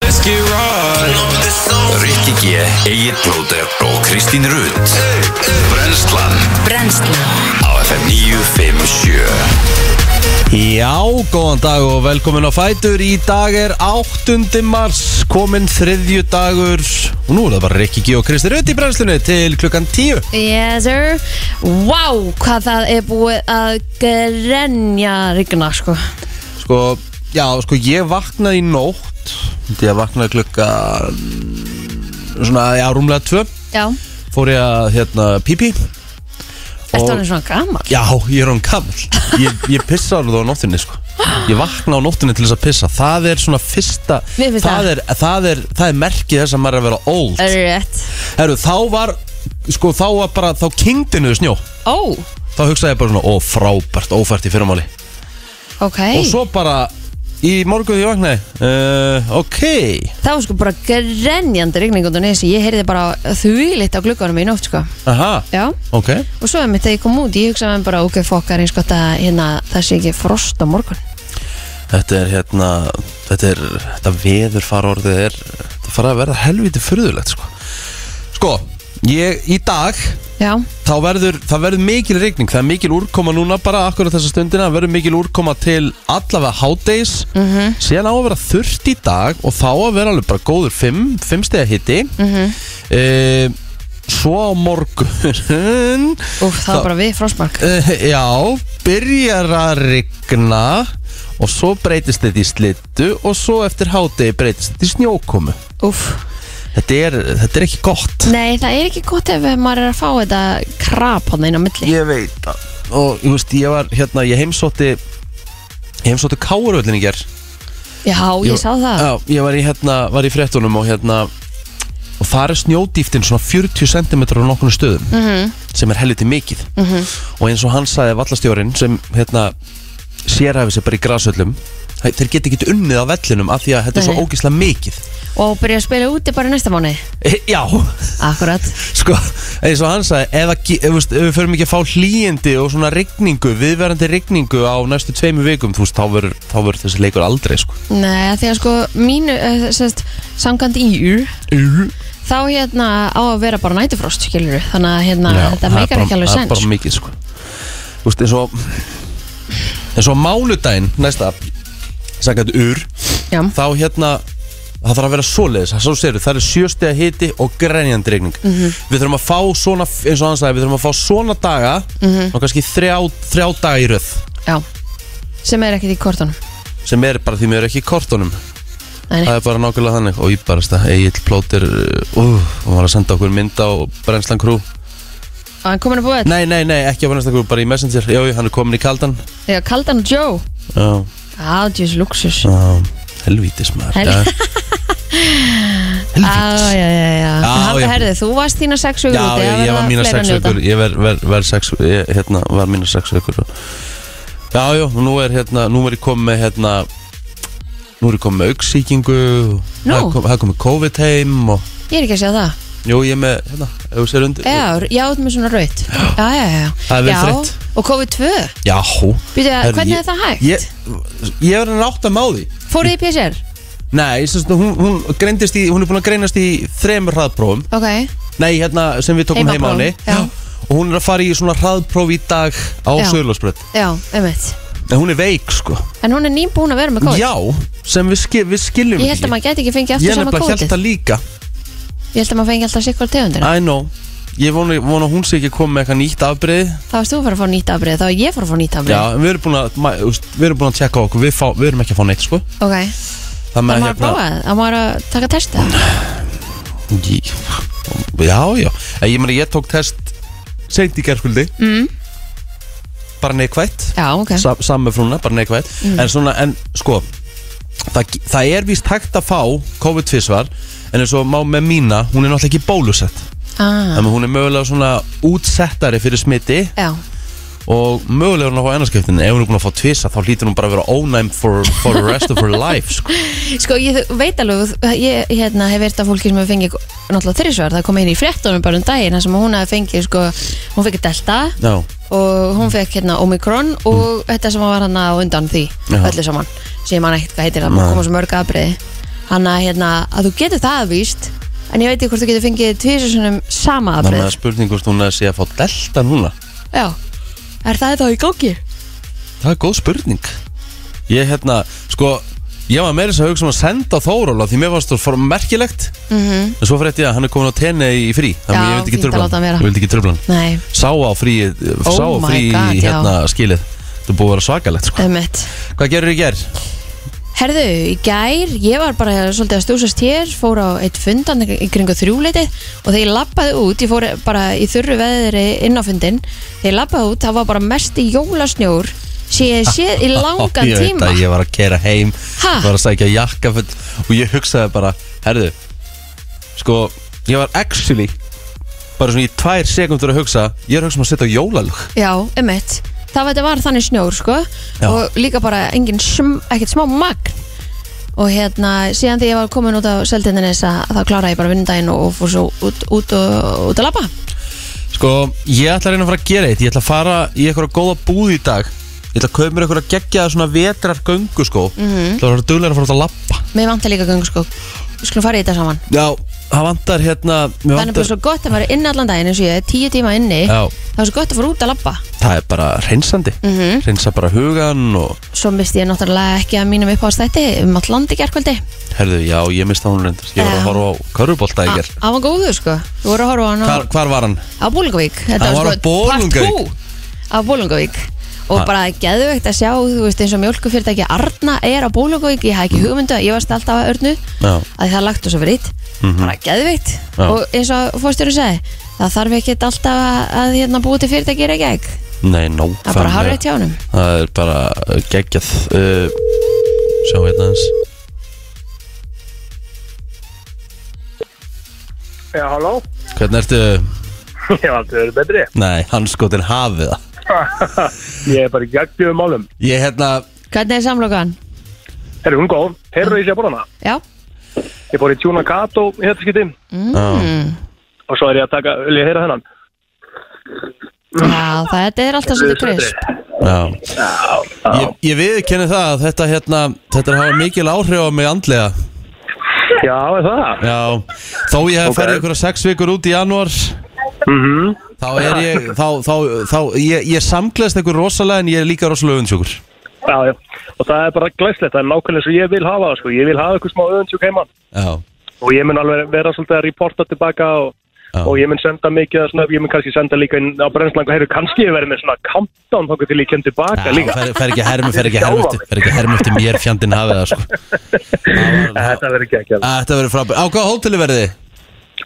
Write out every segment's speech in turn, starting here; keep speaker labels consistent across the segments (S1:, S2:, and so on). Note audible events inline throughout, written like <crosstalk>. S1: kannski ráð
S2: Rikki G, Egil Blóter og Kristín Rutt Brenslan
S3: Brennslan
S2: á FM 957
S1: Já, góðan dag og velkomin á Fætur Í dag er 8. mars Komin þriðju dagur Og nú er það bara Rikki G og Kristi Rutt í brennslunni Til klukkan 10
S3: Yes sir Vá, hvað það er búið að grenja rigna sko
S1: Sko, já, sko ég vaknaði í nótt Ég vaknaði klukkan Svona, já, rúmlega 2
S3: Já,
S1: Fór ég að, hérna, pípi
S3: ertu hann svona gammal?
S1: Já, ég er hann gammal Ég, ég pissa alveg á nóttinni sko Ég vakna á nóttinni til þess að pissa Það er svona fyrsta
S3: Mér finnst
S1: það
S3: það.
S1: er, það, er, það er merkið þess að maður er að vera old
S3: Er rétt
S1: Herru, þá var Sko, þá var bara, þá kingdinuðu snjó
S3: Ó,
S1: Þá hugsaði ég bara svona, ó frábært, ófært í fyrramáli
S3: ok
S1: Og svo bara, í morguðu ég vaknaði uh, Ok
S3: Það var sko bara grenjandi rigning út á nesi Ég heyrði bara þvílitt á glugganum í nótt sko
S1: Aha,
S3: Já
S1: ok
S3: Og svo einmitt þegar ég kom út, ég hugsaði mér bara ok fokkar eins gott að hérna, það sé ekki frost á morgun
S1: Þetta er hérna Þetta er, þetta veður farorðið er Það fara að verða helviti furðulegt sko Sko, ég, í dag
S3: Já,
S1: þá verður, það verður mikil rigning það er mikil úrkoma núna bara akkurat þessa stundina það verður mikil úrkoma til allavega hádegis
S3: Mhm.
S1: -hmm. síðan á að vera þurft í dag og þá að vera alveg bara góður 5 5 stega hitti mm
S3: Mhm.
S1: -hmm. svo á
S3: <laughs>
S1: morgun
S3: úf, það var bara við frostmark
S1: uh, já, byrjar að rigna og svo breytist þetta í slittu og svo eftir hádegi breytist þetta í snjókomu
S3: Úf,
S1: þetta er, þetta er ekki gott
S3: nei það er ekki gott ef maður er að fá þetta krap hann inn á milli
S1: Ég veit það Og þú veist, ég var hérna, ég heimsótti Ég heimsótti Káruvöllin í gerð
S3: Já, ég sá það
S1: Já, ég var í hérna, var í fréttunum og hérna Og þar er snjódýftin svona 40 cm á nokkurnum stöðum
S3: Mhm.
S1: -hmm. Sem er helviti mikið -hmm. Og eins og hann sagði vallastjórinn sem hérna Sérhæfi sér bara í grasöllum þe- Þeir geti ekki unnið á vellinum Af því að þetta er svo
S3: Nei.
S1: ógislega mikið
S3: Og byrja að spila úti bara í næsta mánu
S1: e, Já, <laughs>
S3: Akkurat
S1: sko, eins og hann sagði ef, að, ge- ef, veist, ef við förum ekki að fá hlýjandi og svona rigningu, viðverandi rigningu á næstu tveimu vikum, þú veist, þá verður þá verður þessi leikur aldrei, sko
S3: Nei, því að sko mínu, eh, sérst, samkvæmt í Þá hérna á að vera bara nætufrost, skilur Þannig að hérna, þetta
S1: það er
S3: meikar
S1: bara-
S3: ekki alveg
S1: það er
S3: sens
S1: bara mikið, sko Þú veist, eins og eins og mánudaginn, næsta sagði ur,
S3: Já,
S1: þá hérna það þarf að vera svoleiðis, það svo séru, það er sjöstega hiti og grenjandi regning
S3: Mhm.
S1: við þurfum að fá svona, eins og hann sagði við þurfum að fá svona daga
S3: Mhm.
S1: og kannski þrjá, þrjá daga í röð
S3: já Sem er ekkert í kortunum
S1: sem er bara því mér er ekki í kortunum
S3: Nei, nei.
S1: það er bara nákvæmlega þannig og ég bara stað Egil Plóter uh, og var að senda okkur mynd á Brennslan Crew
S3: Og hann komin að búið
S1: nei, nei, nei, ekki á Brennslan Crew, bara í Messenger já, já, hann er komin í kaldan
S3: Já, kaldan Joe
S1: já,
S3: Adjus luxus
S1: já, helvítis maður
S3: Hel-
S1: já.
S3: <laughs> Á, já, já, já
S1: Já,
S3: Handa,
S1: já.
S3: herði, þú varst þína sex
S1: Já,
S3: hugur úti
S1: ég,
S3: það
S1: ég var
S3: verða
S1: mína
S3: fleiri að
S1: sex
S3: njóta.
S1: vikur Ég ver, ver, ver sex, ég, hérna, var mína sex vikur og- Já, já, og nú er hérna Nú er ég komið með hérna Nú er ég komið með auksíkingu og
S3: Nú?
S1: Það er kom- það er komið COVID heim og,
S3: Ég er ekki að sjá það
S1: Jú, ég er með, hérna, ef þú sér undir
S3: Já, já, þú ert með svona raut
S1: <gasps>
S3: Já, já, já
S1: Það er vel
S3: Já,
S1: þreytt.
S3: Og COVID-2
S1: Já
S3: Býtu,
S1: Herru,
S3: hvernig
S1: ég-
S3: er það hægt?
S1: Ég, ég er að átta með á því
S3: Fóruð í PCR?
S1: Nei, sem sagt, hún, hún, greindist í, hún er búin að greinast í þremur hraðprófum
S3: Ok
S1: Nei, hérna sem við tókum heima á
S3: Heimaprófum,
S1: henni
S3: já.
S1: Og hún er að fara í svona hraðpróf í dag á
S3: Já.
S1: Söðlósbröð
S3: Já, einmitt
S1: En hún er veik, sko
S3: En hún er nýbúin að vera með COVID
S1: Já, sem við, skil, við skiljum
S3: Ég held að maður geti ekki fengið
S1: Ég
S3: aftur sama
S1: nefnilega held
S3: COVID
S1: það líka
S3: Ég held að maður fengi alltaf sikkur tegundina
S1: I know Ég vona, vona að hún sé ekki að koma með eitthvað nýtt afbrið
S3: Þá varst þú að fara að fá nýtt afbrið Þá var ég að fara að fá nýtt
S1: Já,
S3: afbrið
S1: en við erum búin að, ma- þú veist, við erum búin að tjekka á okkur Við, fá, við erum ekki að fá neitt, sko hérna-
S3: Ok
S1: Það
S3: Það maður að prófa það Það maður að taka testa
S1: Ég- Já, já En Ég meni, ég tók test seint í gerðskvöldi mm. Bara neikvætt
S3: Já, Mm. ok
S1: Sa, Samme frúna, bara neikvætt En svona, en sko það, það er víst hægt að fá COVID-tvisvar En eins og má með mína Hún er náttúrulega ekki bólusett
S3: Ah,
S1: Þannig að hún er mögulega svona útsettari fyrir smiti
S3: Já,
S1: Og mögulega er hún að fá ennarskiptin Ef hún er búin að fá tvisa þá hlýtur hún bara að vera ónæm For, for the rest of her life sko.
S3: Sko, ég veit alveg, ég hérna, hef verið að fólki sem hefur fengið náttúrulega þrísvar, það kom inn í fréttunum bara um daginn þar sem hún hefði fengið, sko, hún fekk Delta
S1: Já, Mm.
S3: og hún fekk hérna Omikron og þetta sem var hann á undan því,
S1: Já.
S3: öllu saman, sem ég man ekkert hvað heitir, það
S1: Nei.
S3: koma svo mörg afbreiði. Þannig að, hérna, að þú getur það víst En ég veit ekki hvort þú getur fengið tvísasunum sama
S1: Þannig að það
S3: afbröð
S1: er spurning hvort hún að sé að fá delta núna
S3: Já, er það þá í gangi?
S1: Það er góð spurning Ég hérna, sko Ég var meira þess að hugsa um að senda á Þóróla Því mér fannst það fór merkilegt
S3: Mhm.
S1: En svo frétti ég að hann er komin á tenni í frí Þannig
S3: Já,
S1: ég vildi ekki
S3: fínt að
S1: trufla
S3: láta hann
S1: hann
S3: vera.
S1: Ég vildi ekki trufla hann
S3: Nei,
S1: Sá á frí,
S3: Oh
S1: sá á
S3: my
S1: frí
S3: God,
S1: í
S3: já. Eh.
S1: hérna skilið Þetta er búið að vera svakalegt sko.
S3: emmitt
S1: Hvað gerir ég ger?
S3: Herðu, í gær, ég var bara svolítið að stúsast hér, fór á eitt fundan í kringu þrjúleitið og þegar ég lappaði út, ég fór bara í þurru veðri inn á fundin, þegar ég lappaði út, það var bara mesti jólasnjór sem ég hef séð
S1: <laughs>
S3: í langan
S1: Ég veit
S3: tíma.
S1: að ég var að kera heim
S3: Ha?
S1: Var að sækja jakka full Og ég hugsaði bara, herðu Sko, ég var actually Bara svona í tvær sekundur að hugsa Ég er að hugsa um að setja á jólalug
S3: Já, emmitt. Það var, þetta var þannig snjór, sko,
S1: Já.
S3: og líka bara engin, sm, ekkert smá magn. Og hérna, síðan þegar ég var komin út á seldindinnes að þá kláraði ég bara vinnudaginn og fór svo út, út, og, út að lappa.
S1: Sko, ég ætla að reyna að fara að gera eitt Ég ætla að fara í eitthvað góða búð í dag Ég ætla að kaupa mér eitthvað að gegja svona vetrar göngu sko
S3: Mhm.
S1: -hmm. Það var duglega að fara út að lappa
S3: Mér vantar líka göngu, sko. Við skulum fara í þetta saman.
S1: Já, það vantar hérna mér
S3: Það er bara
S1: vantar,
S3: svo gott að vera inn allan daginn eins og ég, er tíu tíma inni
S1: Já.
S3: Það er svo gott að fara út að labba
S1: Það er bara reynsandi
S3: Mhm.
S1: -hmm. Reynsa bara hugan og
S3: Svo misti ég náttúrulega ekki að mínum uppáðstætti um alland í gerkvöldi
S1: Herðu, já, ég mista hún reyndur Ég var að
S3: Já. Ah.
S1: horfa á körfubolta í
S3: Það
S1: ger
S3: var góður sko Þú voru að horfa á hann á,
S1: Hvar, hvar var hann?
S3: á Bólungavík Þetta sko
S1: Hann var á
S3: part
S1: Bolungavík.
S3: 2 á Bólungavík Og
S1: Ha.
S3: bara geðveikt að sjá, þú veist, eins og mjölkufyrirtæki Arna er á Bólungavík, ég haf ekki hugmyndu ég varst alltaf að örnu
S1: Já.
S3: að það lagt og svo fyrir ít bara geðveikt
S1: Mhm. Já.
S3: og eins og fórstjóri segi það þarf ekki alltaf að, að hérna, búið til fyrirtæki er ekki ekki,
S1: Nei, nó
S3: það er bara hafrið hjá honum
S1: Það er bara uh, geggjað uh, Sjá hérna eins
S4: Já, halló? <laughs>
S1: Hvernig ertu?
S4: Ég hef aldrei verið betri.
S1: Nei, hann skotin hafið það
S4: Ég er bara í gegnum málum.
S1: Ég hérna
S3: Hvernig er samlokan?
S4: Herru, hún er góð. Herru, ég sé að borða hana.
S3: Já,
S4: Ég fór í tjúna katt og hérna skytti.
S1: mm.
S4: Og svo er ég að taka, vil ég heyra þennan?
S3: já það Mm. þetta er alltaf svolítið
S4: Sætri.
S3: krisp
S1: Já, Ég, ég viðkenni það að þetta hérna Þetta er að hafa mikil áhrif á mig andlega
S4: Já, er það?
S1: Já, þó ég hef okay.
S4: Ok.
S1: ferðið ykkur sex vikur út í janúar
S4: Mhm.
S1: Þá er ég, þá, þá, þá Ég, ég samglaðist ykkur rosalega en ég er líka rosalega öfundsjúkur
S4: Já, já. Og það er bara glæslegt. Það er nákvæmlega svo ég vil hafa það, sko. Ég vil hafa ykkur smá öðinsjúk heima.
S1: Já,
S4: Og ég mun alveg vera svolítið að reporta tilbaka og,
S1: Já.
S4: og ég mun senda mikið að svona, ég mun kannski senda líka inn á brennslang og heyru, kannski ég verið með svona countdown þá til ég kem tilbaka
S1: Já,
S4: líka.
S1: fer, fer ekki að hermi, fer ekki að hermi eftir, fer ekki að hermi eftir mér fjandinn hafið það sko.
S4: <laughs> Þetta verður ekki ekki.
S1: Að Þetta verður frábært. Á hvað hóteli verði?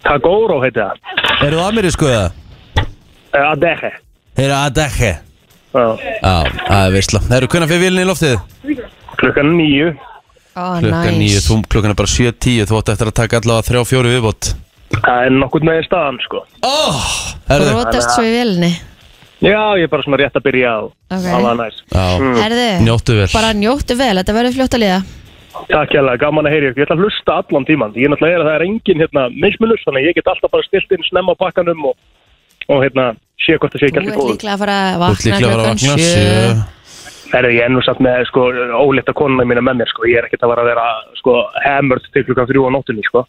S4: Kagóró heiti það.
S1: Eru það amerísku eða?
S4: Eh, Adehe.
S1: Eru Adeche?
S4: Já.
S1: Já, það er veistla. Það eru hvernig fyrir vilni í loftið?
S4: Klukkan nýju.
S3: Ó,
S1: Klukkan
S3: næs.
S1: níu, þú, klukkan er bara 7.10, þú átt eftir að taka allavega þrjá fjóru viðbót.
S4: Það er nokkurn veginn staðan, sko.
S1: Oh,
S3: Þú
S1: herðu,
S3: rótast svo í velni
S4: Já, ég er bara svona rétt að byrja á.
S3: Ok.
S4: Það var næst.
S3: Mm.
S1: já,
S3: Herðu,
S1: njóttu vel.
S3: bara njóttu vel, þetta verður fljótt að liða
S4: Takk hérlega, gaman að heyra ykkur. Ég ætla að hlusta allan tíman. Ég er náttúrulega er að það er engin hérna, mismunus, þannig að ég get alltaf bara stilt inn snemma á pakkanum og, og hérna, sé hvort það sé
S3: Þú
S4: ekki
S3: ert
S4: allir góður.
S3: líklega að fara að
S1: Þú ert
S3: vakna
S1: líklega að fara að
S3: klukkan
S1: vakna
S3: sjö
S1: sjö.
S4: Herði, ég er nú satt með, sko, óleita konuna mína með mér, sko. Ég er ekkert að fara að vera, sko, hammered til klukkan þrjú á nóttunni, sko.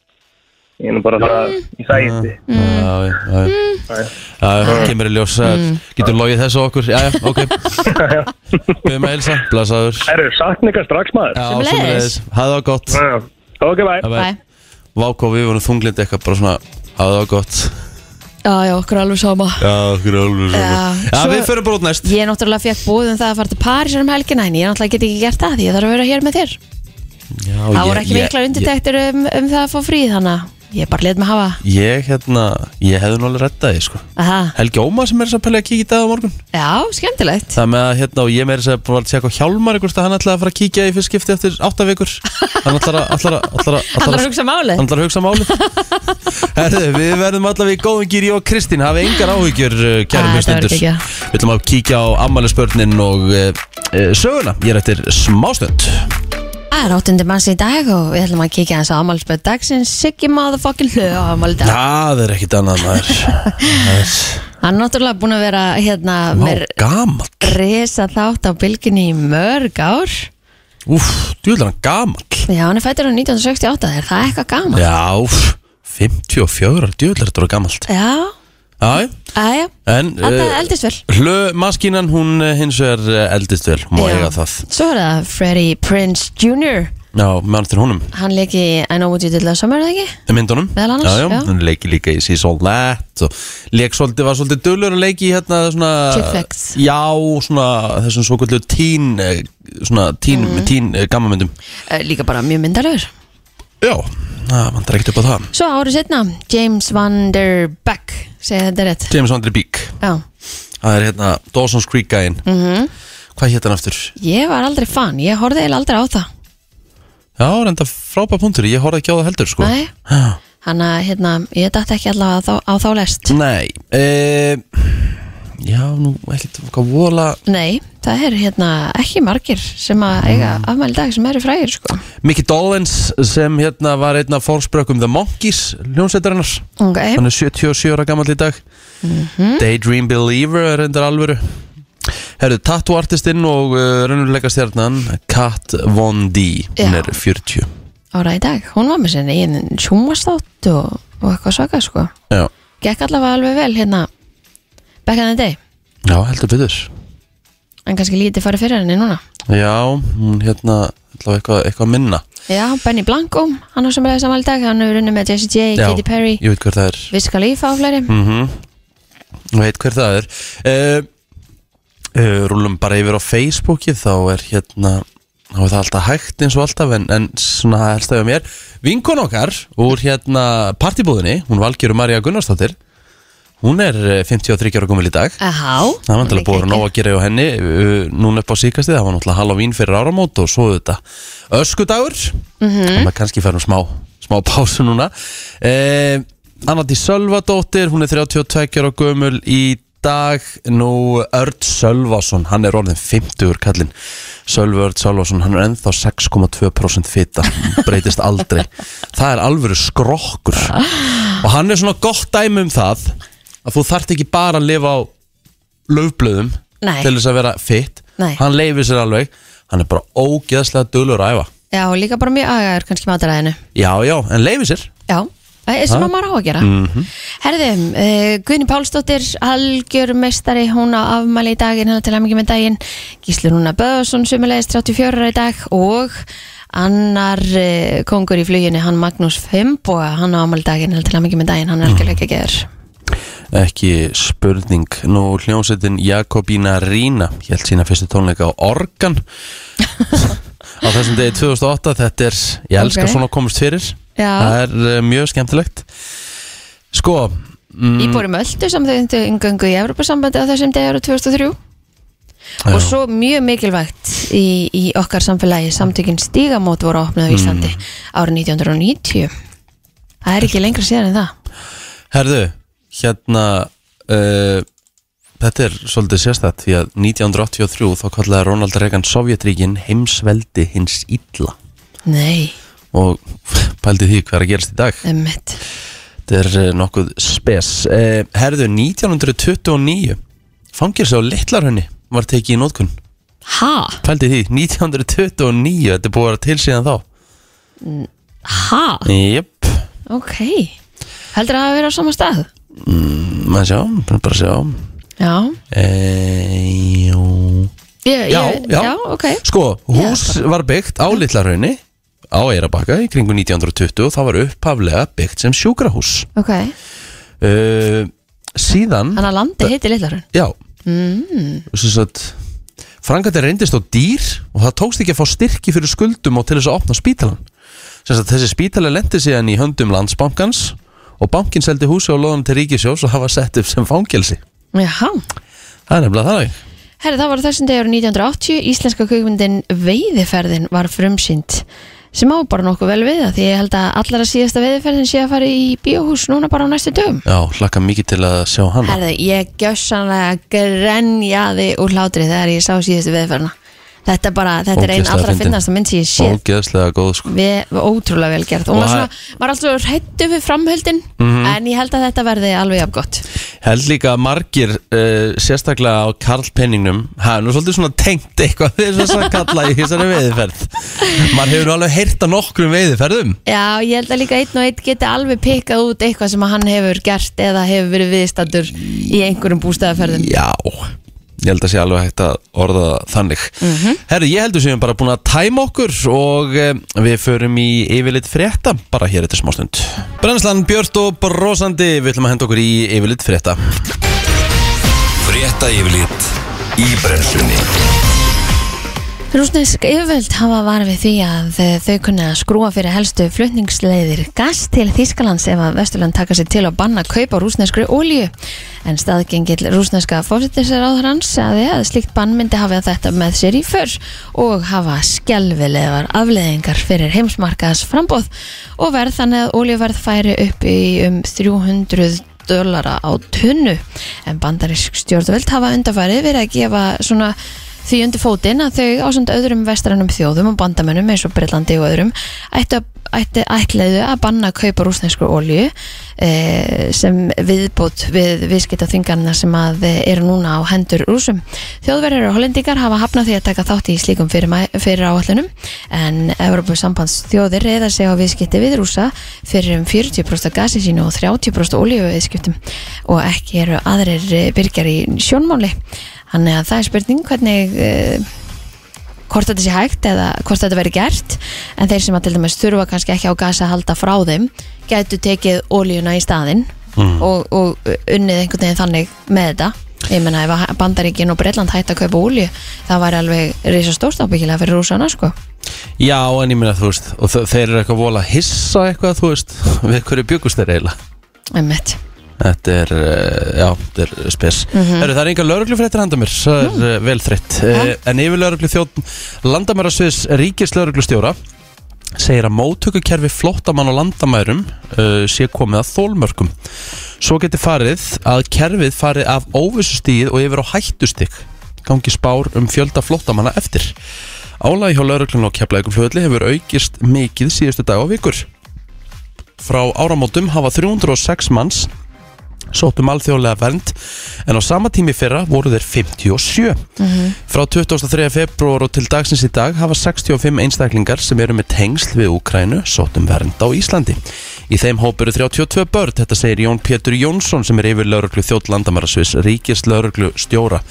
S4: Ég er nú bara að fara
S3: Mm.
S4: í þægindi.
S1: Já, já, já. Já, já, kemur í ljós. Mm. Getur logið þessu okkur? Já, já, ok. <laughs> Við með Elsa, blæsaður.
S4: Herði, sakna ykkar strax, maður.
S1: Já,
S3: Sömuleiðis.
S1: sömuleiðis. Hafðu það gott.
S4: Já. Ok, bye.
S1: Bye.
S3: Bæ.
S1: Vákó, við vorum þunglind eitthvað bara svona Hafðu það gott
S3: Já, já, okkur er alveg sama
S1: Já, okkur alveg
S3: svona.
S1: Já,
S3: Svo-
S1: við förum bara út næst
S3: Ég náttúrulega fekk búið um það að fara til Parísar um helgina en ég náttúrulega get ekki gert það því ég þarf að vera hér með þér
S1: Já,
S3: Það voru ekki miklar undirtektir um, um það að fá frí þannig að ég bara let mig hafa
S1: Ég, ég hérna, ég hefði nú alveg reddað því sko
S3: Aha.
S1: Helgi Óma sem er þess að pæla að kíkja í dag á morgun
S3: Já, skemmtilegt
S1: Það með að hérna og ég meira þess að bara var að tjekka á Hjálmar ykkurst að hann ætlaði að fara að kíkja í fyrst skipti eftir átta vikur Hann ætlar að, ætlar að, ætlar að,
S3: Allar að hugsa máli
S1: Hann ætlar að hugsa máli Herðu, við verðum allavega í góðum gýr Ég og Kristín hafi engar áhyggjur uh,
S3: Ah,
S1: Kærum
S3: þetta verður
S1: hlustendur
S3: geggjað.
S1: Við ætlum að kíkja á ammælisbörnin og uh, uh, söguna Ég er eftir smástund
S3: Það er áttundi manns í dag og við ætlum að kíkja hans á ammálspöð dagsins Siggi motherfucking hlöð á ammál í dag
S1: Það er ekkit annað maður Það er
S3: Hann er náttúrulega búin að vera hérna
S1: Má
S3: með
S1: gamall
S3: resa þátt á bylginni í mörg ár
S1: Úf, djúðlega hann gamall
S3: Já, hann er fættur á 1968, er það eitthvað gaman?
S1: Já, úf, 54 Djúðlega þetta voru gammalt
S3: Já,
S1: Já, já.
S3: aðja,
S1: en
S3: alltaf
S1: eh,
S3: eldist vel
S1: Hlömaskínan hún eh, hins vegar eh, eldist vel Má
S3: Já.
S1: eiga það
S3: Svo er það Freddie Prince Jr.
S1: Já, meðan til honum
S3: Hann leik í I Know What You Did Last Summer, eða ekki?
S1: Í myndunum
S3: Meðal annars,
S1: já, já.
S3: já.
S1: Hann leiki líka í She's All That og leik svolítið, var svolítið dölur að leiki í hérna svona
S3: Chick flicks.
S1: Já, svona þessum svo kvöldu tín eh, svona tín, mm. tín gammamyndum
S3: Eh, Líka bara mjög myndalegur
S1: Já, það vantar ekkert upp á það
S3: Svo árið setna, James Van Der Beck segja þetta rétt
S1: James Andre Beek,
S3: Já,
S1: það er hérna Dawson's Creek gæinn
S3: Mhm.
S1: Hvað hétt hann aftur?
S3: ég var aldrei fan, ég horfði eiginlega aldrei á það
S1: Já, reynda frábæð punktur, ég horfði ekki á það heldur sko
S3: Nei,
S1: Já.
S3: hann að hérna, ég dætti ekki allavega á þá, á þá lest
S1: Nei e Já, nú ekkert hvað vola
S3: Nei, það er hérna ekki margir sem að eiga
S1: Mm.
S3: afmæli í dag sem eru frægir sko
S1: Mickey Dolenz sem hérna var einn af fórsprökum The Monkeys hljónsveitarinnar
S3: Ok,
S1: hann er 77 ára gammal í dag
S3: Mhm.
S1: Daydream Believer er reyndar alvöru Herðu, tattoo artistinn og uh, raunurleika stjarnan Kat Von D hún
S3: Já.
S1: er 40
S3: ára í dag, hún var með sinni í einn sjómastátt og, og eitthvað svaka sko
S1: Já,
S3: Gekk allavega alveg vel hérna back in the day,
S1: Já heldur byggður
S3: en kannski lítið farið fyrir henni núna
S1: Já, hún hérna allavega eitthvað, eitthvað minna
S3: Já, Benny Blanco, hann á sem reyðis afmæli í dag hann hefur unnið með Jessie J,
S1: Já,
S3: Katy Perry
S1: Ég veit hver það er
S3: Viska Lífa á fleiri
S1: mm veit hver það er uh, uh, rúlum bara yfir á Facebookið þá er hérna þá er það alltaf hægt eins og alltaf en, en svona helst af mér vinkon okkar úr hérna partibúðinni hún valgjur Marja Gunnarsdóttir hún er eh, 53 ára komil í dag
S3: Aha,
S1: það var náttúrulega búið að nóg að gera hjá henni uh, núna upp á síkastið, það var náttúrulega Halloween fyrir áramót og svo þetta öskudagur mm -hmm. kannski færum smá smá pásu núna uh, Annati Sölvadóttir hún er 32 ára gömul í dag nú Örd Sölvason hann er orðin 50 kallinn Sölvi Örd Sölvason, hann er ennþá 6,2% fita, breytist aldrei það er alvöru skrokkur og hann er svona gott dæmi um það að þú þarft ekki bara að lifa á löfblöðum
S3: Nei.
S1: til þess að vera fitt
S3: Nei.
S1: hann leifir sér alveg hann er bara ógeðslega dölur að æfa
S3: Já, og líka bara mjög agaður kannski mataræðinu
S1: já, já, en leifir sér
S3: Já, það er sem að maður á að gera mm -hmm. Herðum, uh, Guðni Pálsdóttir algjör meistari, hún á afmæli í daginn hennar til að mikið með daginn Gísli Rúna Böðarsson, sömulegis 34 ára í dag og annar uh, kongur í fluginu, hann Magnús Fimboa, hann á afmæli í daginn hennar til að mikið með daginn, hann er algjörlega ekki að gera
S1: ekki spurning nú hljómsveitin Jakobína Rína held sína fyrstu tónleika á Organ <laughs> á þessum degi 2008 þetta er, ég elskar
S3: Ok.
S1: svona komist fyrir
S3: Já.
S1: það er uh, mjög skemmtilegt sko
S3: mm. Íbórum öllu sem þau undu yngöngu í Evropasambandi á þessum degar á 2003 og svo mjög mikilvægt í, í okkar samfélagi samtökin stígamót voru opnað á Íslandi árið 1990 Það er ekki lengra síðan en það
S1: Herðu, hérna uh, Þetta er svolítið sérstætt því að 1983 þá kallaði Ronald Reagan Sovjetríkin heimsveldi hins illa
S3: Nei,
S1: og <laughs> pældi því hvað er að gerast í dag
S3: emmitt
S1: Þetta er eh, nokkuð spes uh, Herðu, 1929 fangilsi á Littlarhönni var tekið í nótkunn
S3: Ha?
S1: pældi því, 1929 þetta er búið að vera til síðan þá
S3: Ha?
S1: Jöp,
S3: Ok Heldur það að vera á sama stað?
S1: maður sjá, bara sjá
S3: Já
S1: e, Jú
S3: ég,
S1: Já,
S3: ég,
S1: já.
S3: ok
S1: Sko, hús var byggt á Litlarhraunni á Eirabakka í kringu 1920 og það var upphaflega byggt sem sjúkrahús
S3: Ok,
S1: uh, Síðan
S3: þannig að landi heiti Lillarun
S1: Já mm. Frankandi reyndist á dýr og það tókst ekki að fá styrki fyrir skuldum og til þess að opna spítalan Sem sagt, Þessi spítali lendi síðan í höndum landsbankans og bankin seldi húsi á loðan til ríkisjós og hafa sett upp sem fangelsi
S3: Jaha
S1: Það er nefnilega þannig
S3: Herri, það var á þessum degur 1980, íslenska kvikmyndin Veiðiferðin var frumsýnd sem á bara nokkuð vel við það því ég held að allara síðasta veiðiferðin sé að fara í bíóhús núna bara á næstu dögum
S1: Já, hlakka mikið til að sjá hann
S3: Herði, ég gjössanlega grenjaði úr hlátri þegar ég sá síðastu veiðiferðina Þetta, bara, þetta er ein
S1: Ógeðslega
S3: allra
S1: fyndin.
S3: finnast að mynd sem ég sé
S1: Ógeðslega góð sko
S3: við, ótrúlega vel gert
S1: Og
S3: og maður,
S1: það- Mhm.
S3: svona, maður er alltaf hrættu við framhöldin en ég held að þetta verði alveg jafn gott
S1: held líka að margir uh, sérstaklega á Karl Penningnum hann er nú svolítið svona tengt eitthvað við þess að kalla í þessari veiðiferð mann hefur nú alveg heyrt að nokkrum veiðiferðum
S3: Já, ég held að líka einn og einn geti alveg pikkað út eitthvað sem að hann hefur gert eða hefur verið viðstattur í einhverjum bústæðaferðum.
S1: Já, ég held að sé alveg hægt að orða það þannig Herru, ég heldur sem við erum bara búin að tæma okkur og um, við förum í yfirleitt frétta bara hér eftir smástund Brennslan Björst og brosandi, við ætlum að henda okkur í yfirleitt frétta
S2: Frétta yfirlit í brennslunni
S3: Rúsnesk yfirvöld hafa var við því að þau kunna skrúa fyrir helstu flutningsleiðir gas til Þýskalands ef að Vesturland taka sér til að banna kaup á rúsneskri ólíu. En staðgengill rúsneska fósittisaráðhrans sagði að slíkt bann myndi hafa þetta með sér í för og hafa skelvilegar afleðingar fyrir heimsmarkaðs frambóð og verð þannig að ólíuverð færi upp í um 300 dólara á tunnu en bandarísk stjórnvöld hafa undarfærið verið að gefa svona því undir fótinn að þau ásand öðrum vestrænum þjóðum og bandamönnum eins og Breitlandi og öðrum ættu að ætti ætlaðu að banna að kaupa rúsneskur olju eh, sem viðbót við viðskipta sem að eh, eru núna á hendur rúsum. Þjóðverðar og hollendingar hafa hafnað því að taka þátt í slíkum fyrir, fyrir áallunum en Evropasambands þjóðir reyða sig á viðskipti við rúsa fyrir um 40% af gasi sínu og 30% olíu viðskiptum og ekki eru aðrir eh, byrgjar í sjónmáli. Þannig að það er spurning hvernig eh, hvort þetta sé hægt eða hvort þetta verið gert en þeir sem að til dæmis þurfa kannski ekki á gasa að halda frá þeim gætu tekið ólíuna í staðinn og, og eh, unnið einhvern veginn þannig með þetta ég menna ef að Bandaríkin og Breitland hætti að kaupa ólíu það væri alveg risa stórstábyggilega fyrir rúsana sko
S1: Já, en ég minna, þú veist, og þe- þeir eru eitthvað vola að hissa eitthvað, þú veist, <laughs> við hverju bjögust þeir eiginlega
S3: einmitt
S1: Þetta er, uh, já, þetta er spes mm Það er enga lauruglufréttir handa mér Það er mm. vel þreytt uh, En yfir lauruglu þjótt Landamærasviðs ríkis lauruglustjóra segir að móttökukerfi flottamann og landamærum uh, sé komið að þólmörkum Svo geti farið að kerfið farið af óvissustíð og yfir á hættustík gangi spár um fjölda flottamanna eftir Álagi hjá lauruglun og keflaðingum fljóðli hefur aukist mikið síðustu dag og vikur Frá áramótum hafa 306 manns sótt um alþjóðlega vernd en á sama tími í fyrra voru þeir 57 frá 23. februar og til dagsins í dag hafa 65 einstaklingar sem eru með tengsl við Úkrænu sótt um vernd á Íslandi í þeim hóp eru 32 börn þetta segir Jón Pétur Jónsson sem er yfir lauruglu þjótt landamærasvis ríkis lauruglu stjóra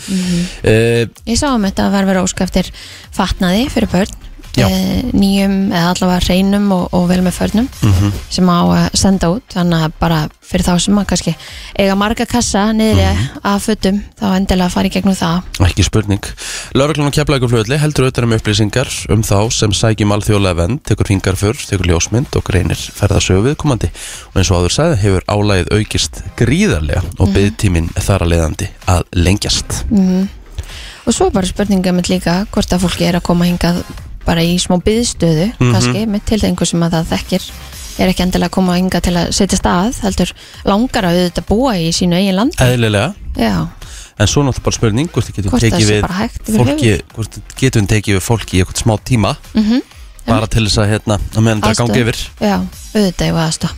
S1: Eh,
S3: Ég sá um þetta að verða verið óskæftir fatnaði fyrir börn
S1: Já.
S3: eh, nýjum eða allavega reynum og, og vel með förnum
S1: Mhm.
S3: sem á að senda út þannig að bara fyrir þá sem að kannski eiga marga kassa niður
S1: Mhm.
S3: af fötum þá endilega að fara í gegnum það
S1: Ekki spurning. Lörglun og keflækurflöðli heldur auðvitað um upplýsingar um þá sem sækjum alþjóðlega vend, tekur fingar fyrr, tekur ljósmynd og greinir ferðasögu viðkomandi. Og eins og áður sagði hefur álægið aukist gríðarlega og
S3: Mhm.
S1: byggtíminn þar að leiðandi að lengjast.
S3: og svo er bara spurninga með líka hvort að fólki er að koma hingað bara í smá byðstöðu
S1: Mhm.
S3: kannski með tilþengu sem að það þekkir er ekki endilega að koma hingað til að setja stað heldur langar að auðvitað búa í sínu eigin land
S1: Eðlilega,
S3: Já,
S1: en svo er náttúrulega bara spurning hvort þið getum
S3: Hvort það
S1: tekið
S3: sé
S1: við
S3: bara hægt yfir
S1: fólki, hvort þið getum tekið við fólki í eitthvað smá tíma,
S3: Mhm.
S1: bara til þess að hérna, að meðan það gangi
S3: Aðstoð.
S1: yfir.
S3: Já, auðvitað ég var aðstof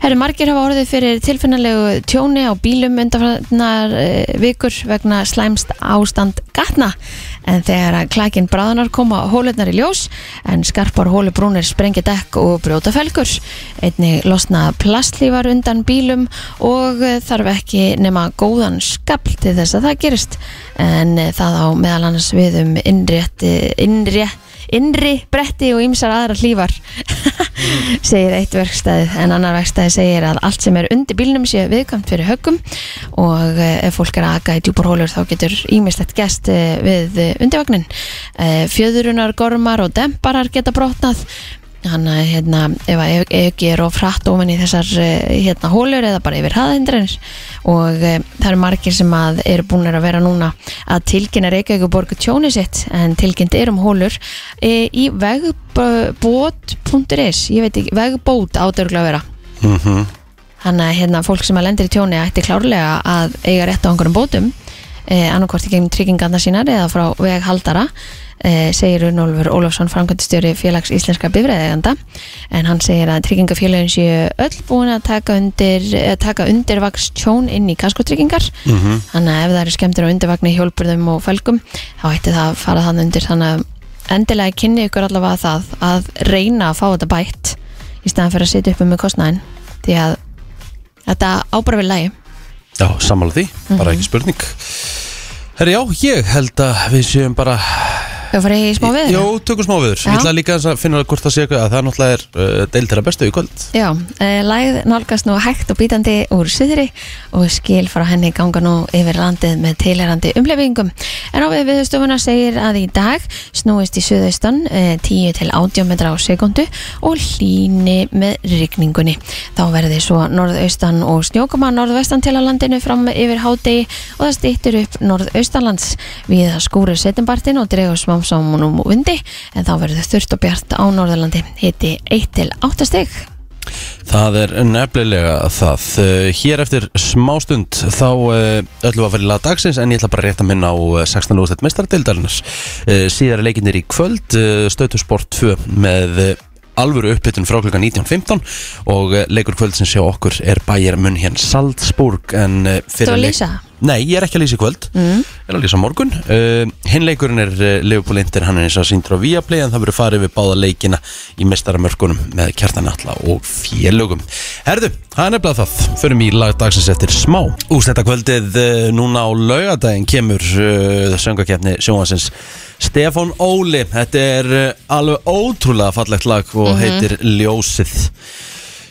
S3: Herru, margir hafa orðið fyrir tilfinnalegu tjóni á bílum undanfarnar eh, vikur vegna slæmst ástand gatna en þegar að klækin bráðunar koma hólurnar í ljós en skarpar hólubrúnir sprengi dekk og brjóta felgur einnig losna plastlífar undan bílum og eh, þarf ekki nema góðan skapl til þess að það gerist en eh, það á meðal annars við um innrétti, innrétti innri bretti og ýmsar aðra hlífar segir eitt verkstæði en annar verkstæði segir að allt sem er undir bílnum sé viðkvæmt fyrir höggum og eh, ef fólk er að aga í djúpar hólur þá getur ýmislegt gest eh, við eh, undirvagnin Eh, fjöðrunar, gormar og demparar geta brotnað hann að hérna, ef að ef- ef ekki er of frætt ofan í þessar eh, hérna hólur eða bara yfir hraðhindranir og e, það eru margir sem að eru búinir að vera núna að tilkynna Reykjavíkuborgu tjóni sitt en tilkynnt er um hólur e, í vegbót.is ég veit ekki, vegbót ádörgla að vera
S1: Mhm.
S3: Þannig að hérna, fólk sem að lendir í tjóni ætti klárlega að eiga rétt á einhverjum bótum eh, annarkvort í gegnum tryggingarna sínar eða frá veghaldara eh, segir Unnólfur Ólafsson framkvæmtistjóri félags íslenska bifræðeganda en hann segir að tryggingafélagin séu öll búin að taka undir, eh, taka undirvaks tjón inn í kaskotryggingar
S1: Mhm.
S3: þannig að ef það eru skemmtir á undirvagni hjólburðum og fölgum þá ætti það að fara þann undir þannig að endilega kynni ykkur allavega það að reyna að fá þetta bætt í staðan fyrir að sitja uppi með kostnæðin því að þetta ábara við lægi
S1: Já, sammála því,
S3: Mhm.
S1: bara ekki spurning Herri, já, ég held að við séum bara
S3: Þau farið í smá veður?
S1: Jó, tökum smá viður
S3: Já.
S1: Ég ætla líka að finna hvort það sé eitthvað að það náttúrulega er uh, deildir að bestu í kvöld
S3: Já, e, lægð nálgast nú hægt og bítandi úr syðri og skil frá henni ganga nú yfir landið með tilherandi umlefingum. En á við viðstofuna segir að í dag snúist í suðaustan e, 10 til 80 metra á sekundu og hlíni með rigningunni. Þá verði svo norðaustan og snjókama norðvestan til að landinu fram yfir hádegi og það stýttur upp norðaustanlands við að skúra setinbartin og dregur smám saman um vindi en þá verður þurft og bjart á norðalandi hitti 1 til 8 stygg.
S1: Það er nefnilega það Uh, Hér eftir smástund þá uh, ætlum við að fara í laga dagsins en ég ætla bara að rétta minna á uh, 16. úrstætt mestardildarinnar Síðar er leikinnir Eh, í kvöld eh, Stöðtusport 2 með uh, alvöru uppbytun frá klukkan 19.15 og uh, leikur kvöld sem sjá okkur er bæjar mun hér Salzburg en uh,
S3: Þú
S1: fyrir
S3: að
S1: leik-
S3: lýsa?
S1: Nei, ég er ekki að lýsa í kvöld mm. Ég er að lýsa á morgun uh, Hinn leikurinn er uh, Leopold Inter Hann er eins og síndur á Viaplay En það verður farið við báða leikina Í mestaramörkunum Með kjartan alla og félögum Herðu, það er nefnilega það Förum í lagdagsins eftir smá Úst þetta kvöldið uh, núna á laugadaginn Kemur uh, söngakefni sjónvansins Stefán Óli Þetta er uh, alveg ótrúlega fallegt lag Og heitir Ljósið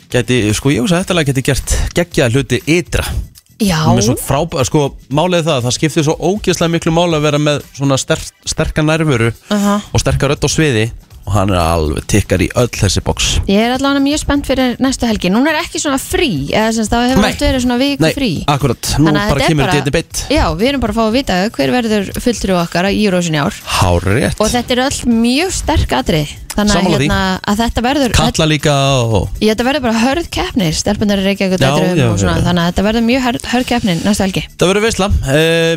S1: Gæti, sko ég hugsa að þetta lag geti gert geggjað hluti ytra
S3: Já,
S1: með svo frábæð, sko, málið er það að það skiptir svo ógeðslega miklu máli að vera með svona sterk, sterka nærvöru
S3: Aha.
S1: og sterka rödd á sviði og hann er alveg tikkar í öll þessi box
S3: ég er allavega mjög spennt fyrir næstu helgi. Núna er ekki svona frí, eða sem sagt, það hefur
S1: Nei.
S3: allt verið svona viku
S1: Nei,
S3: frí.
S1: akkurat, nú
S3: Þannig að
S1: bara
S3: þetta er
S1: kemur þetta í beitt
S3: Já, við erum bara að fá að vita hver verður fulltrú okkar í Eurovision í ár.
S1: Hárétt,
S3: Og þetta er öll mjög sterk atrið. Þannig að,
S1: Sammála því.
S3: hérna, að þetta verður...
S1: kalla líka og
S3: Ég, þetta verður bara hörð keppni, stelpunar er ekki eitthvað
S1: Já, já,
S3: og svona,
S1: já, já.
S3: þannig að þetta verður mjög hörð, hörð keppni næstu helgi.
S1: það verður veisla uh,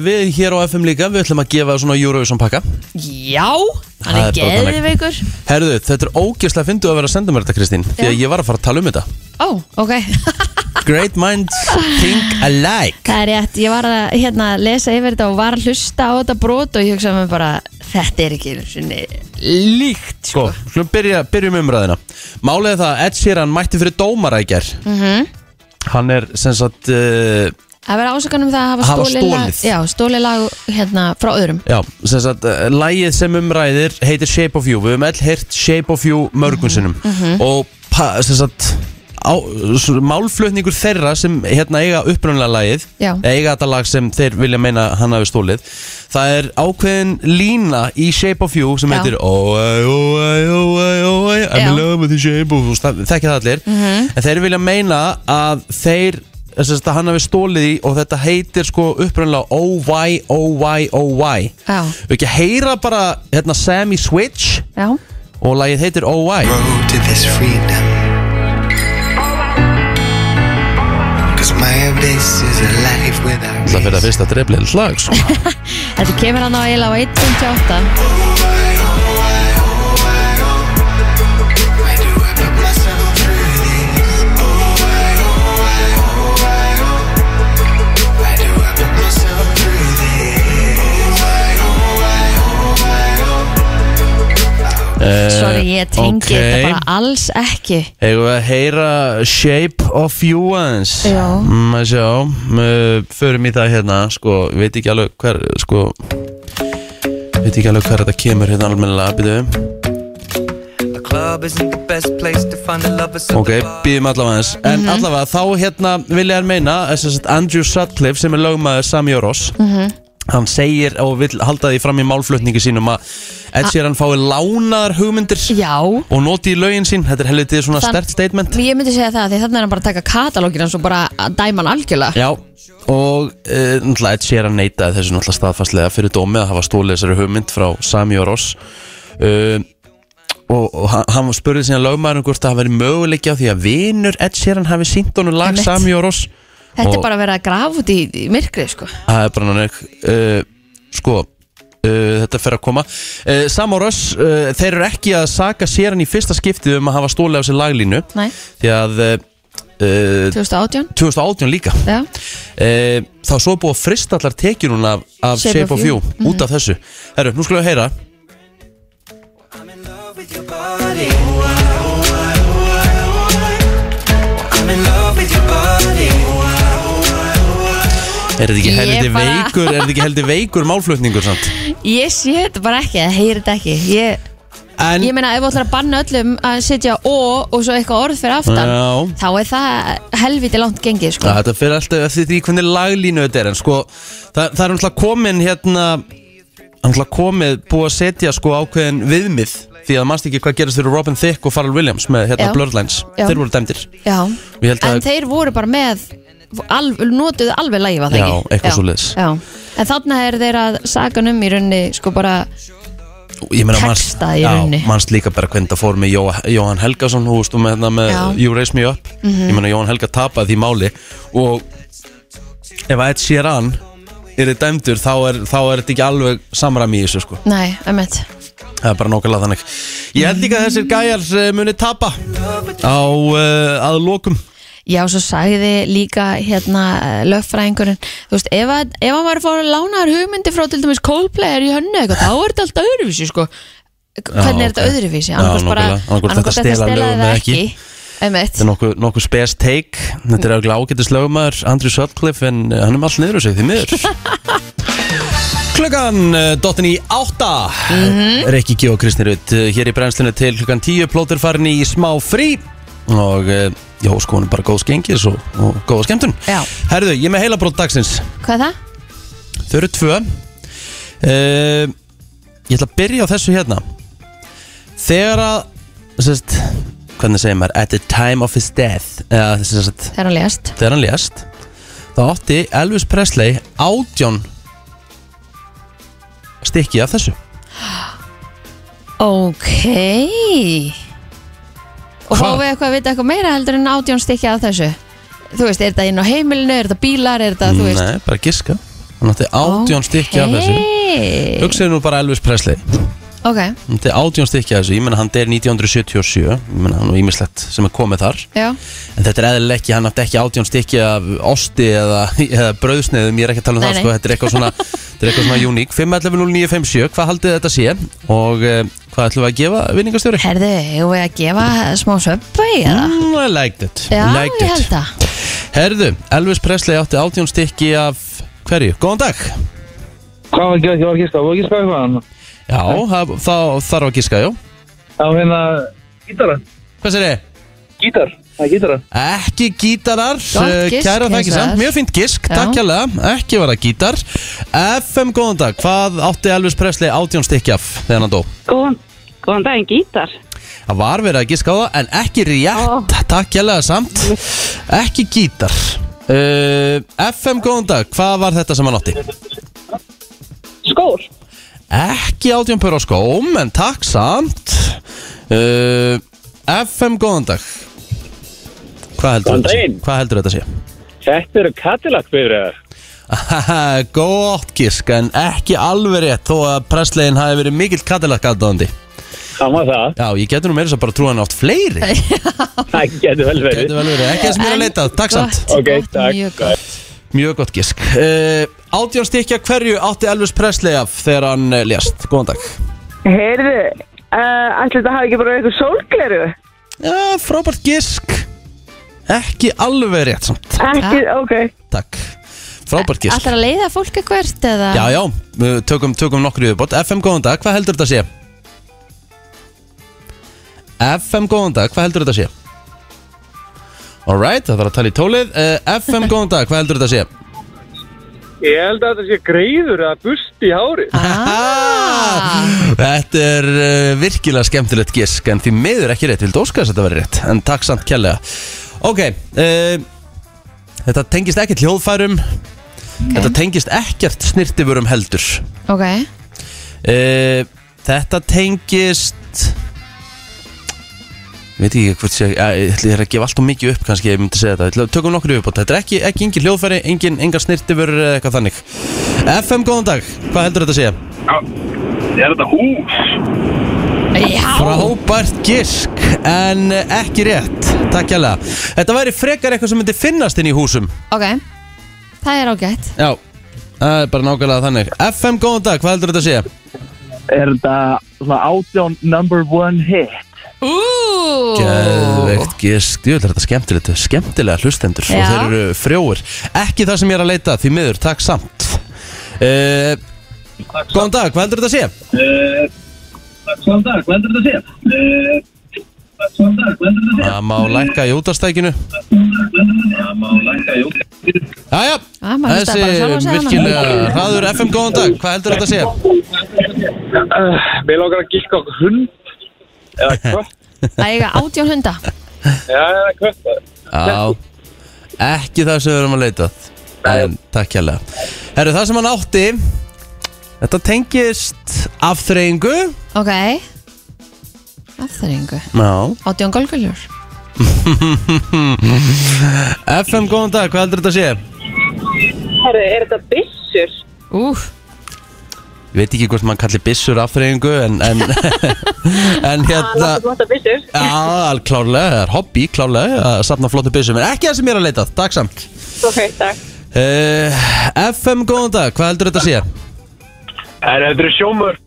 S1: Við hér á FM líka, við ætlum að gefa svona Eurovision pakka
S3: Já,
S1: Það er
S3: hann er
S1: bara þannig.
S3: geðveikur.
S1: Herðu, þetta er ógeðslega fyndu að vera að senda mér þetta Kristín Því að ég var að fara að tala um þetta
S3: Ó, ok. <laughs>
S1: Great minds think alike
S3: Það er rétt, ég var að hérna, lesa yfir þetta og var að hlusta á þetta brot og ég hugsaði mér bara, þetta er ekki einu sinni líkt
S1: Sko, slum byrja, byrjum umræðina Málið er það að Ed Sheeran mætti fyrir dómara í ger
S3: Mhm.
S1: Hann er sem sagt uh,
S3: Að vera ásakanum það að hafa,
S1: Hafa
S3: stólið, lag,
S1: stolið.
S3: já, stólið lag hérna, frá öðrum
S1: Já, sem sagt, uh, lægið sem umræðir heitir Shape of You Við höfum all heyrt Shape of You
S3: Mhm,
S1: mörgum sinnum Og pa, sem sagt á, svo, Málflutningur þeirra sem hérna eiga upprunlega lægið
S3: Já.
S1: eða Eiga þetta lag sem þeir vilja meina hann hafi stólið Það er ákveðin lína í Shape of You sem
S3: Já.
S1: heitir Oh, I, oh, I, oh, I, oh, I, I'm
S3: Já. Mhm.
S1: in love with the shape of Það þekkja það allir En þeir vilja meina að þeir þess að hann hafi stólið í og þetta heitir sko upprænlega OY, OY, OY
S3: Já.
S1: Við ekki að heyra bara hérna Sammy Switch
S3: Já,
S1: og lagið heitir OY
S5: road to this freedom. Cause my abyss is alive without
S1: Það fyrir að fyrsta dreflið slag sko.
S3: þetta kemur hann á eiginlega á 1.58
S5: Why do I put myself through this? Oh, why, oh, why, oh, why, oh. Why do I put myself through this? Oh, why, oh, why, oh, why, oh.
S3: Sorry, ég tengi
S1: Eh, ok.
S3: þetta bara alls ekki
S1: Eigum við að heyra Shape of You aðeins
S3: Já.
S1: mm, að sjá, uh, Förum í það hérna sko, Við veit ekki alveg hver sko, Við veit ekki alveg hver þetta kemur hérna almennilega byrju.
S6: A club isn't the best place to find a lover, so
S1: Ok,
S6: the bar
S1: býðum allavega aðeins En
S3: Mhm.
S1: allavega þá hérna vilja hann meina þess að sagt Andrew Sutcliffe sem er lögmaður Sammy og Ross
S3: Mhm.
S1: Hann segir og vill halda því fram í málflutningi sínum að Ed Sheeran fái lánaðar hugmyndir
S3: Já,
S1: og noti í lögin sín Þetta er helvitið svona
S3: Þann-
S1: stert statement
S3: ég myndi segja það því þannig er hann bara að taka katalógina og bara að dæma hann algjörlega
S1: Já, og uh, náttúrulega Ed Sheeran neitaði þessu náttúrulega staðfastlega fyrir dómi að hafa stólið þessari hugmynd frá Sami og Ross uh, og, og hann- hann spurði síðan lögmaðurinn hvort það hafi verið möguleikja á því að vinur Ed Sheeran hafi sínt honum lag
S3: Einmitt.
S1: Sami og Ross
S3: Þetta
S1: og-
S3: er bara að vera að grafa út í, í myrkrið sko
S1: Það er bara náttúrulega uh, e, sko uh, þetta fer að koma uh, Sam og Röss, uh, þeir eru ekki að saka sér hann í fyrsta skiptið um að hafa stólið af sér laglínu
S3: Nei,
S1: því að uh, uh,
S3: 2018
S1: 2018 líka
S3: Já,
S1: uh, þá er svo búið að frista allar tekið núna af, af Shape, of You,
S3: Mhm.
S1: út af þessu Herru, nú skulum við heyra
S6: I'm in love with your body. I'm in love with your body.
S1: Er þetta ekki
S3: Ég
S1: heldi
S3: bara-
S1: veikur, er þetta ekki heldi veikur málflutningur samt?
S3: ég sé þetta bara ekki, það heyri þetta ekki Ég,
S1: En,
S3: ég meina, ef þú ætlar að banna öllum að setja o og svo eitthvað orð fyrir aftan
S1: Já.
S3: þá er það helviti langt
S1: Ja,
S3: gengið, sko
S1: þetta fyrir alltaf eftir því hvernig laglínu þetta er en sko, það, það er umtlað komin hérna umtlað komið búið að setja sko ákveðin viðmið því að mannst ekki hvað gerist fyrir Robin Thicke og Pharrell Williams með hérna
S3: Já.
S1: Blurred Lines
S3: Já.
S1: þeir voru dæmdir
S3: Já,
S1: Ég held að-
S3: en þeir voru bara með alv, notuðu alveg lægi, var það
S1: Já,
S3: ekki?
S1: eitthvað svoleiðis.
S3: Já, en þarna er þeir að sagan um í rauninni, sko bara
S1: ég meina mannst
S3: Texta í rauninni.
S1: mannst líka bara hvernig það fór með Jó, Jóhann Helgason þú veist, og með, hérna, með
S3: Já. Mhm.
S1: You Raise Me Up ég meina Jóhann Helga tapaði því máli og ef að Ed Sheeran er dæmdur þá er, þá er þetta ekki alveg samræmi í þessu sko
S3: Nei, emmitt
S1: Það er bara nákvæmlega þannig Ég held líka að þessir gæjar eh, muni tapa á uh, að lokum
S3: Já, svo sagði líka hérna löffræðingurinn Þú veist, ef, að, ef hann var að fá að lánaðar hugmyndi frá til dæmis Coldplay er í hönnu eitthvað, þá er þetta alltaf öðruvísi, sko Hvernig er þetta
S1: ok.
S3: öðruvísi?
S1: Já,
S3: Annarkoð bara,
S1: nákvæmlega. Annaðhvort
S3: annarkoð
S1: þetta
S3: þetta
S1: stela
S3: stelaði
S1: lögum
S3: það
S1: eða
S3: ekki
S1: ekki.
S3: Emmitt,
S1: Þetta er nokkuð nokku spes take Þetta er auðvitað ágætis lögumæður Andrew Sutcliffe en eh, hann er með allt niður á sig því miður Klukkan uh, dottin í átta Rikki G og Kristi Rutt uh, Hér í brennslinu til klukkan 10 Plóter farin í smá frí Og uh, já, sko hann er bara góð skengis og, og góða skemmtun
S3: Já.
S1: Herðu, ég er með heila brótt dagsins
S3: hvað er það?
S1: Þau eru tvö uh, Ég ætla að byrja á þessu hérna Þegar að sérst, Hvernig segir maður At the time of his death eða, sérst,
S3: Þegar hann lést
S1: Þegar hann lést Þá átti Elvis Presley átjón Stikki af þessu
S3: Ok Og
S1: Hvað?
S3: fáum við eitthvað að vita eitthvað meira heldur en átjón stikja að þessu Þú veist, er þetta inn á heimilinu, er þetta bílar, er þetta, þú veist
S1: Nei, bara giska Hann átti átjón stikki af þessu
S3: þessu
S1: Hugsaðu nú bara Elvis Presley
S3: Ok,
S1: Hann átti átjón stikki af þessu Ég menna hann deyr 1977 Ég menna hann og ímislegt sem er komið þar
S3: já
S1: En þetta er eðlilega ekki, hann átti ekki átjón stykki af osti eða, eða brauðsneiðum, ég er ekki að tala um
S3: Nei,
S1: það
S3: nei.
S1: sko, þetta er eitthvað svona, þetta er eitthvað svona uník. 5.11.09.57, hvað haldið þetta sé og uh, hvað ætlum við að gefa vinningastjóri?
S3: Herðu, eigum við að gefa smá söpbu í eða?
S1: Mm, I liked it,
S3: Já,
S1: liked
S3: ég held
S1: it.
S3: það
S1: Herðu, Elvis Presley átti átjón stykki af hverju? Góðan dag!
S7: Hvað var ekki, ég var að gíska, var að gíska eitthvað hann?
S1: Já, það, þá þarf að gíska, já.
S7: Það var hérna... Gítara.
S1: Hvað sér þið?
S7: Gítar. Það er gítara.
S1: Ekki gítarar,
S3: Gott
S1: eh,
S3: gisk,
S1: kæra
S3: hins
S1: þakki samt,
S3: vegar.
S1: mjög fínt gisk,
S3: Já.
S1: takk hérlega, ekki var það gítar FM, góðan dag, hvað átti Elvis Presley átjón stykki af þegar hann dó?
S8: Góðan, góðan daginn, gítar.
S1: Það var verið að giska á það, en ekki rétt,
S8: Ó.
S1: takk hérlega samt, ekki gítar uh, FM, góðan dag, hvað var þetta sem hann átti?
S8: Skór.
S1: Ekki átjón pör á skóm, en takk samt uh, FM, góðan dag, hvað heldur,
S7: Góðan
S1: þetta sé?
S7: daginn.
S1: hvað heldur þetta sé?
S7: Þetta eru Cadillac bifræðar.
S1: Haha, <laughs> Gott gisk, en ekki alveg rétt þó að Presleyin hafi verið mikill Cadillac aðdáðandi
S7: Það var það.
S1: Já, ég getur nú meira þess að bara trúa hann átt fleiri
S7: Það getur vel verið.
S1: Getur vel verið, ekki þess mér að
S3: En
S1: leitað, takk samt
S3: gott,
S7: Ok,
S3: gott,
S7: takk.
S3: mjög gott.
S1: Mjög gott gisk uh, Átján stykja hverju átti Elvis Presley af þegar hann uh, lést, góðan dag
S8: Heyrðu, uh, ætli þetta hafi ekki bara verið eitthvað sólgleru?
S1: Já, frábært gisk Ekki alveg rétt samt,
S8: Ekki, ok.
S1: takk Frábært gisk
S3: Ætlar að leiða fólk eitthvert eða?
S1: Já, já, við tökum, tökum nokkur í viðbót FM, góðan dag, hvað heldur þetta sé? FM, góðan dag, hvað heldur þetta sé? Alright, það þarf að tala í tólið uh, FM, góðan dag, hvað heldur þetta sé?
S7: Ég held að þetta sé greiður eða burst í hárið.
S1: Ah, þetta er uh, virkilega skemmtilegt gisk En því miður ekki rétt, vildu óska þess að þetta veri rétt En takk samt kjærlega Ok, uh, þetta tengist ekkert hljóðfærum Þetta tengist ekkert snirtifurum heldur
S3: Ok,
S1: Eh, Þetta tengist Ég veit ekki hvort sé eh, Ég er að gefa alltaf mikið upp kannski ef Ég myndi segja þetta, Ég ætla- tökum nokkur upp Þetta er ekki, ekki engin hljóðfæri, engin, engar snirtifur eða Eitthvað þannig FM, góðan dag, hvað heldur þetta að segja?
S4: Er þetta hús?
S3: Já,
S1: Frábært gisk, en ekki rétt Takk hérlega Þetta væri frekar eitthvað sem myndi finnast inn í húsum
S3: ok Það er ágætt
S1: Já, það er bara nákvæmlega þannig FM, góðan dag, hvað heldur þetta að sé?
S4: Er þetta svona átján number one hit?
S3: Ú,
S1: Geðveikt gisk, djú, þetta er skemmtilegt Skemmtilega hlustendur
S3: Já.
S1: og þeir eru frjóir Ekki það sem ég er að leita, því miður, takk samt uh, Góðan dag, hvað heldur þetta að sé?
S4: Svona dag, hvað heldur þetta að sé? Svona dag, hvað heldur þetta að sé?
S1: Það má lækka í útastækinu
S4: Það má lækka í útganginu.
S1: Jæja,
S3: Ah, maður hlustaði bara sjálf á sig
S1: þessi
S3: þarna.
S1: virkilega hraður FM, góðan dag, hvað heldur þetta að sé?
S7: Mér langar að gíska okkur hund Eða kött
S3: Það eiga átjón hunda
S7: Já, eða kött
S1: Já, ekki það sem við erum að leita að. En takk hérlega Herru, það sem hann átti Þetta tengist afþreyingu
S3: Ok Afþreyingu
S1: Já
S3: Átjón golfkjöljur
S1: FM, góðan dag, hvað heldur þetta að sé?
S8: Herru, er þetta byssur?
S3: Ú,
S1: Ég veit ekki hvort maður kallir byssur afþreyingu En, en, <laughs> en hérna
S8: Láttu gott að byssur
S1: Já, al- klárlega, það er hobby, klárlega Að safna flottum byssum, en ekki það sem ég er að leita að, Takk samt
S8: Ok, takk
S1: uh, FM, góðan dag, hvað heldur þetta að sé?
S7: En þetta er sjómur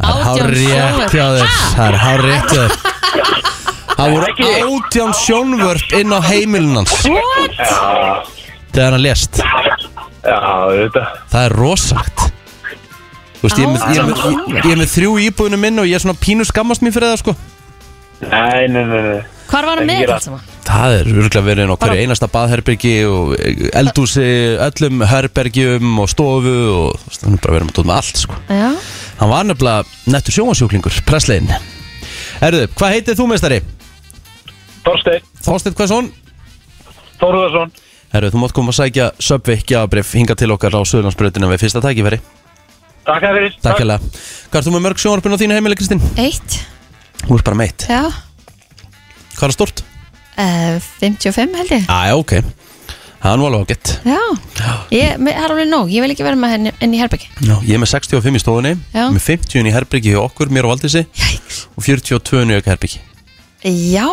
S1: Það er hár
S3: Átján
S1: rétt
S3: sjónvörp.
S1: hjá þér Það er hár rétt hjá þér Það voru átján sjónvörp inn á heimilin hans Þegar hann lést
S7: Já, þetta
S1: Það er rosagt Þú veist, ég er með, ég er með, ég er með þrjú íbúðinu minn og ég er svona pínu skammast mér fyrir það sko
S7: Nei, nei, nei, nei
S3: hvar var hann með
S7: Ég er
S3: þetta
S7: að-
S3: allt saman?
S1: Það er örgulega verið inn á hverju einasta baðherbergi og eldúsi, öllum herbergjum og stofu og þú veist, hann er bara verið með út með allt sko
S3: Já,
S1: Hann var nefnilega nettur sjóansjúklingur, presslegin Erðu, hvað heitir þú meistari?
S7: Þorsteinn
S1: Þorsteinn Hversson?
S7: Þorðarsson
S1: Herru, þú mátt koma að sækja Subway gjafabrif hinga til okkar á Suðurlandsbröðinu við fyrsta tækifæri.
S7: Takk fyrir
S1: Takk hella. Hvað ert þú með mörg sjónarpinn á þínu heimili, Kristinn?
S3: eitt
S1: Þú ert bara meitt.
S3: Já,
S1: Hvað er stort?
S3: uh, 55 held ég
S1: Æja, ok. Það er nú alveg ágætt.
S3: Já, ég, mér- það er alveg nóg Ég vil ekki vera með henni inn í herbyggi
S1: Já. Ég er með 65 í stofunni,
S3: Já.
S1: með 50 í herbyggi hjá okkur, mér og Valdísi
S3: Jæks
S1: og 42 í auka herbyggi.
S3: Já,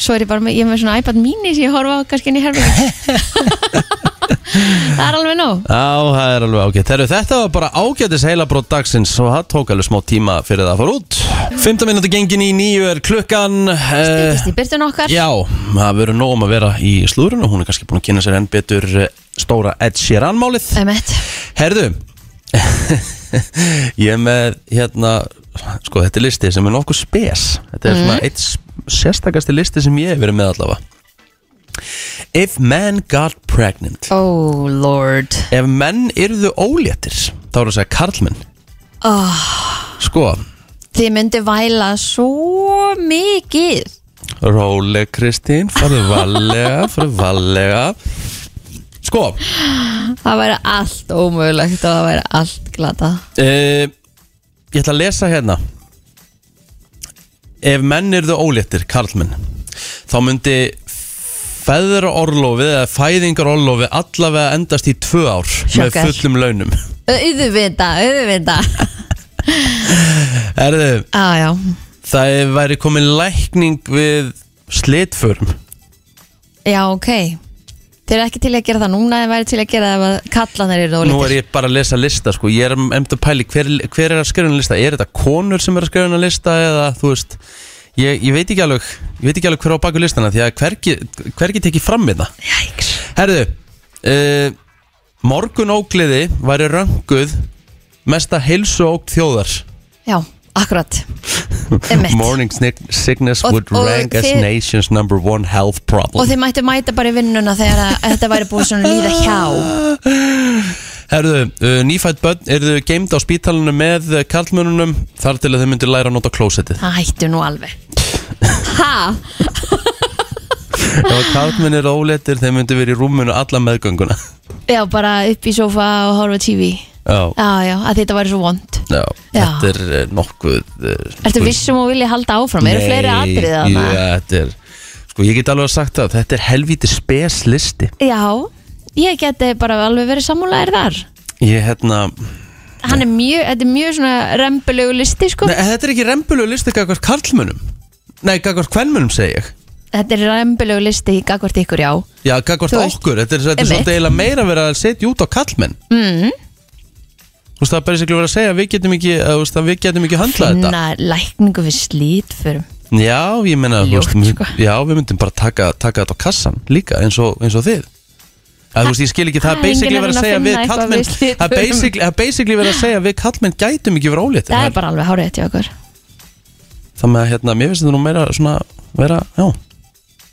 S3: svo er ég bara með, ég er með svona iPad mini sem ég horfa á kannski inn í <laughs> herbyggi Það er alveg nóg
S1: Já, það er alveg ágætt. Herru, þetta var bara ágættis heilabrót dagsins og það tók alveg smá tíma fyrir það að fara út. 15 minúti gengin í nýju er klukkan. eh,
S3: Byrtist í byrtun okkar
S1: Já, það verður nóg um að vera í slúðurinn og hún er kannski búin að kynna sér enn betur eh, stóra Ed Sheeran málið
S3: Emmett
S1: Herðu <laughs> Ég er með hérna sko þetta er listi sem er nokkuð spes Þetta er svona eitt s- sérstakasti listi sem ég hef verið með allavega If men got pregnant
S3: Oh lord
S1: Ef menn yrðu óléttir þá er það að segja karlmenn
S3: oh,
S1: Sko,
S3: Þið myndi væla svo mikið
S1: róleg Kristín farðu valega, farðu valega Sko,
S3: Það væri allt ómögulegt og það væri allt glata
S1: Uh, ég ætla að lesa hérna Ef menn eru óléttir, karlmenn Þá myndi feðra orlofið eða fæðingar orlofið allavega endast í tvö ár
S3: Sjokkar.
S1: með fullum launum <laughs>
S3: Auðvita, auðvita <laughs>
S1: Erðu,
S3: Á Ah, já,
S1: það væri komin lækning við slitförum
S3: já ok Þið eru ekki til að gera það núna Þið væri til að gera það ef að kallanir eru
S1: Nú er
S3: ólítir
S1: ég bara að lesa lista sko Ég er emt að pæli hver, hver er að skrifa hennar lista Er þetta konur sem er að skrifa hennar lista Eða þú veist Ég, ég veit ekki alveg Ég veit ekki alveg hver á baku listana Því að hvergi, hvergi tekið fram við það
S3: Jæks
S1: Herðu uh, Morgun ógliði væri rönguð Mesta heilsu ógn þjóðar
S3: Já, akkurat Emmett
S1: <laughs> Morning snick- sickness
S3: Og-
S1: would
S3: og
S1: rank as
S3: þið-
S1: nation's number one health
S3: Og
S1: problem
S3: þið mættu mæta bara í vinnuna þegar að þetta væri búið svona líða hjá
S1: Herðu, uh, nýfætt börn Erðu geimd á spítalunum með uh, karlmönunum Þar til að þau myndu læra að nota
S3: <laughs>
S1: klósettið
S3: Það hættu nú alveg Ha,
S1: Ef að karlmenn eru óléttir Þeir myndu verið í rúmunu alla meðgönguna
S3: já bara upp í sofa og horfa á TV
S1: Já,
S3: Já, já, að þetta væri svo vond
S1: já,
S3: Já.
S1: þetta er eh, nokkuð uh,
S3: Ertu um vissum og vilja halda áfram? Eru fleiri atrið
S1: að
S3: þarna?
S1: þetta er Sko, ég get alveg sagt það, þetta er helvíti speslisti
S3: Já, ég geti bara alveg verið sammúlaðir þar
S1: Ég hérna,
S3: hann er mjög, þetta er mjög svona rempulegu listi sko
S1: Nei, þetta er ekki rempulegu listi gagvart karlmönum Nei, gagvart kvenmönum segi ég
S3: Þetta er rempulegu listi í gagvart ykkur, já
S1: Já, gagvart
S3: Þú veist,
S1: okkur, þetta er, þetta er
S3: einmitt.
S1: svolítið eiginlega meira verið að setja út á karlmenn
S3: mm,
S1: Þú veist, það er bara siklu verið að segja að við getum ekki, að, þú veist, að við getum ekki handlað þetta
S3: Finna lækningu við slítförum
S1: Já, ég meina, þú
S3: Ljótt,
S1: veist,
S3: sko.
S1: já, við myndum bara taka, taka þetta á kassan líka eins og, eins og þið Það, þú veist, ég skil ekki, það
S3: Það
S1: er
S3: er
S1: basically
S3: enginn
S1: verið að
S3: að
S1: segja
S3: finna
S1: við
S3: eitthvað
S1: karlmenn
S3: við slítum.
S1: Það er basically- það er basically verið að segja að við karlmenn gætum ekki verið óléttir Hérna,
S3: Það er bara alveg hárið þetta í okkur
S1: Þannig að, hérna, mér finnst þetta nú meira svona, vera, já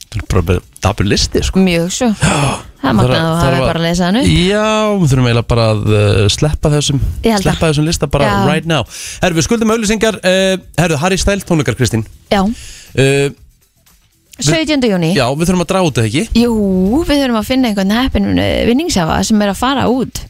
S1: Þetta er bara- bara dabur listi, sko
S3: Mjög svo Það er magnað að
S1: Þarf- þarf
S3: hafa
S1: að-
S3: bara að lesa hann upp
S1: Já, við þurfum eiginlega bara að uh, sleppa þessum
S3: Ég held
S1: sleppa
S3: það.
S1: þessum lista bara
S3: Já.
S1: right now Herru, við skuldum auðlýsingar uh, Herru, Harry Stæl tónleikar, Kristín
S3: Já,
S1: uh,
S3: 17. júni
S1: Já, við þurfum að draga út það ekki
S3: Jú, við þurfum að finna einhvern heppin vinningsafa sem er að fara út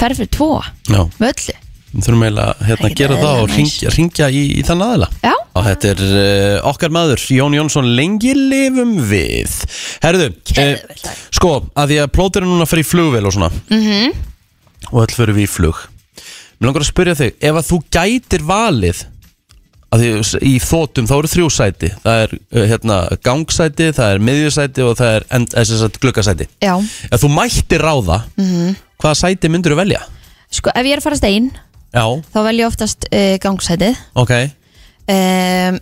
S3: ferð fyrir tvo,
S1: Já,
S3: með öllu
S1: við þurfum eiginlega hérna,
S3: Ekkert
S1: að gera það
S3: eðlilega
S1: og
S3: næs.
S1: ringja, ringja í, í þann aðila
S3: Já,
S1: Og þetta er uh, okkar maður, Jón Jónsson, lengi lifum við Herðu,
S3: Geðveikt lag.
S1: sko, að því að plótur er núna að fara í flugvél og svona mm -hmm. Og öll fyrir við í flug Mér langar að spyrja þig, ef að þú gætir valið að því í þótum þá eru þrjú sæti það er uh, hérna, gangsæti, það er miðjusæti og það er end, eh, sem sagt, gluggasæti
S3: já
S1: ef þú mættir ráða hvaða sæti myndur þú velja?
S3: Sko, ef ég er að fara stein,
S1: Já,
S3: þá vel ég oftast uh, gangsætið
S1: ok
S3: um,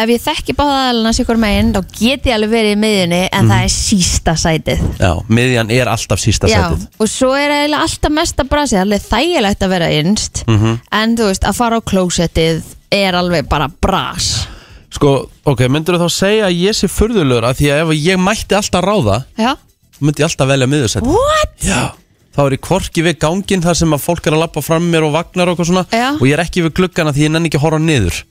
S3: Ef ég þekki báðaðalina sikur megin, þá get ég alveg verið í miðjunni en
S1: Mhm.
S3: það er sísta sætið
S1: Já, miðjan er alltaf sísta sætið
S3: og svo er eiginlega alltaf mesta brasi alveg þægilegt að vera innst
S1: Mhm.
S3: en þú veist, að fara á klósettið er alveg bara bras
S1: Sko, ok, myndur þú þá segja að ég sé furðulegur af því að ef ég mætti alltaf ráða
S3: Já,
S1: myndi ég alltaf velja miðjusæti
S3: what?
S1: Já Þá er ég korki við ganginn þar sem að fólk er að lappa fram mér og vagnar og eitthvað svona
S3: Já.
S1: og ég er ekki við gluggana því ég nenni ekki að horfa niður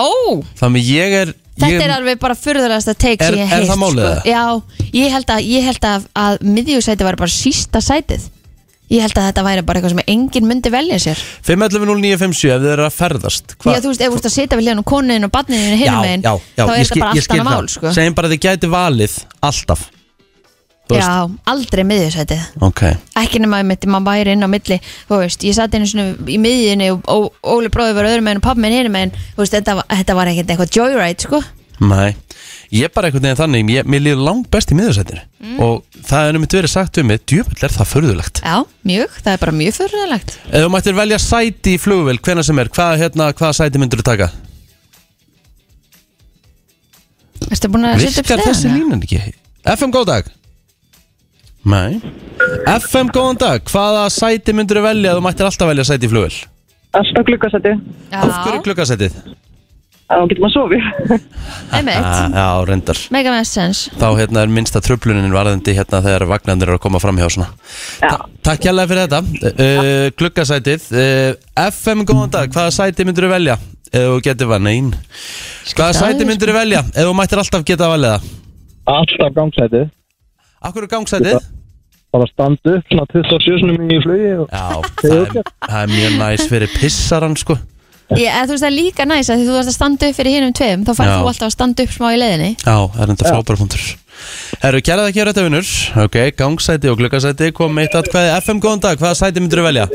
S3: Ó,
S1: Þannig ég er
S3: þetta
S1: ég,
S3: er alveg bara furðulegasta take
S1: Er-
S3: sem ég
S1: er
S3: heilt
S1: það málið eða?
S3: Já, ég held að, ég held að, að miðjúsæti var bara sísta sætið Ég held að þetta væri bara eitthvað sem enginn myndi velja sér
S1: 5.11.09.57 ef þið eru að ferðast
S3: Því að þú veist, ef þú veist að sitja við hliðan og konuðin og badniðin hinum megin,
S1: já, já,
S3: þá
S1: ég
S3: er þetta
S1: skil-
S3: bara
S1: ég
S3: allt
S1: skil
S3: annað
S1: það.
S3: mál sko.
S1: Segjum bara að þið gæti valið alltaf þú veist.
S3: Já, aldrei miðjúsætið
S1: Ok,
S3: ekki nema einmitt, maður væri inn á milli þú veist, ég satt einu svona í miðjunni og, og Óli bróði var öðrum meginn og pappi minn hinum meginn þú veist, þetta, var- þetta var ekkert eitthvað joyride sko,
S1: næ Ég er bara einhvern veginn þannig, ég, mér líður langt best í miðursættir og það er einmitt verið sagt við mig djöfull er það förðulegt
S3: já, mjög það er bara mjög fyrirlegt
S1: Ef þú mættir velja sæti í flugvél, hvena sem er, hvað, hérna, hvaða sæti myndur þú taka?
S3: Erstu búin að setja upp
S1: Virkar þessi
S3: stefna?
S1: línan ekki? FM, góð dag Nei FM, góðan dag, hvaða sæti myndur þú velja ef þú mættir alltaf velja sæti í flugvél?
S8: Alltaf gluggasæti.
S1: Af hverju
S3: Já,
S1: klukkasætið?
S8: Þá getur maður <laughs> sofið.
S3: einmitt,
S1: Ah, Já, reyndar
S3: mega með sense
S1: Þá hérna er minnsta tröflunin varðandi hérna þegar vagnarnir eru að koma fram hjá svona Ta Takk hérlega fyrir þetta uh, Klukkasætið uh, FM góðan dag, hvaða sæti myndur þú velja? Ef þú getur var nein Hvaða
S3: Skipta
S1: sæti
S3: aðeins. sko.
S1: myndur þú velja? Ef þú mættir alltaf geta að velja það
S7: Alltaf gangsætið.
S1: Akkur er gangsætið?
S7: Bara standu, svona 27 sinum í flugi og...
S1: Já, það er, það er mjög næs fyrir pissaran sko
S3: Ég, eða þú veist, það er líka næs að því þú varst að standa upp fyrir hinum tveim þá
S1: Já.
S3: færðu þú alltaf að standa upp smá í leiðinni
S1: Já, það er enda frábæra punktur Herru, kæra það kæra þetta vinnur Ok, gangsæti og klukkasæti kom eitt atkvæði FM góðan dag, hvaða sæti myndur þú velja?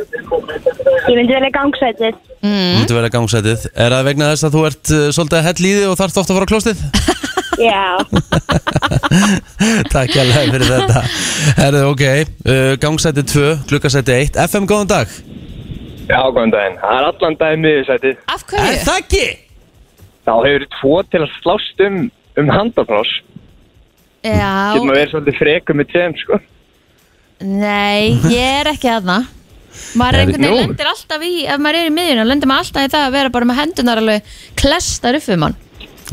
S9: Ég myndi velja gangsætið.
S1: Þú myndur velja gangsætið Er það vegna þess að þú ert uh, svolítið að hell í þig og þarft ofta að fara á klóstið?
S9: Já.
S1: <laughs> Takk hérlega fyrir þetta Herðu, ok, uh, gangsæti 2, klukkasæti 1 FM, góðan dag
S7: Já, góðan daginn. Það er allan daginn miðursætið.
S3: Af hverju?
S1: það ekki?
S7: Þá hefur tvo til að slást um, um handafrás. Getur
S3: Já,
S7: maður verið svolítið frekum með tveim, sko.
S3: nei, ég er ekki aðna maður
S1: Er-
S3: einhvern
S1: Jú.
S3: veginn lendir alltaf í ef maður er í miðjunni, þá lendir maður alltaf í það að vera bara með hendunar alveg klestar upp við mann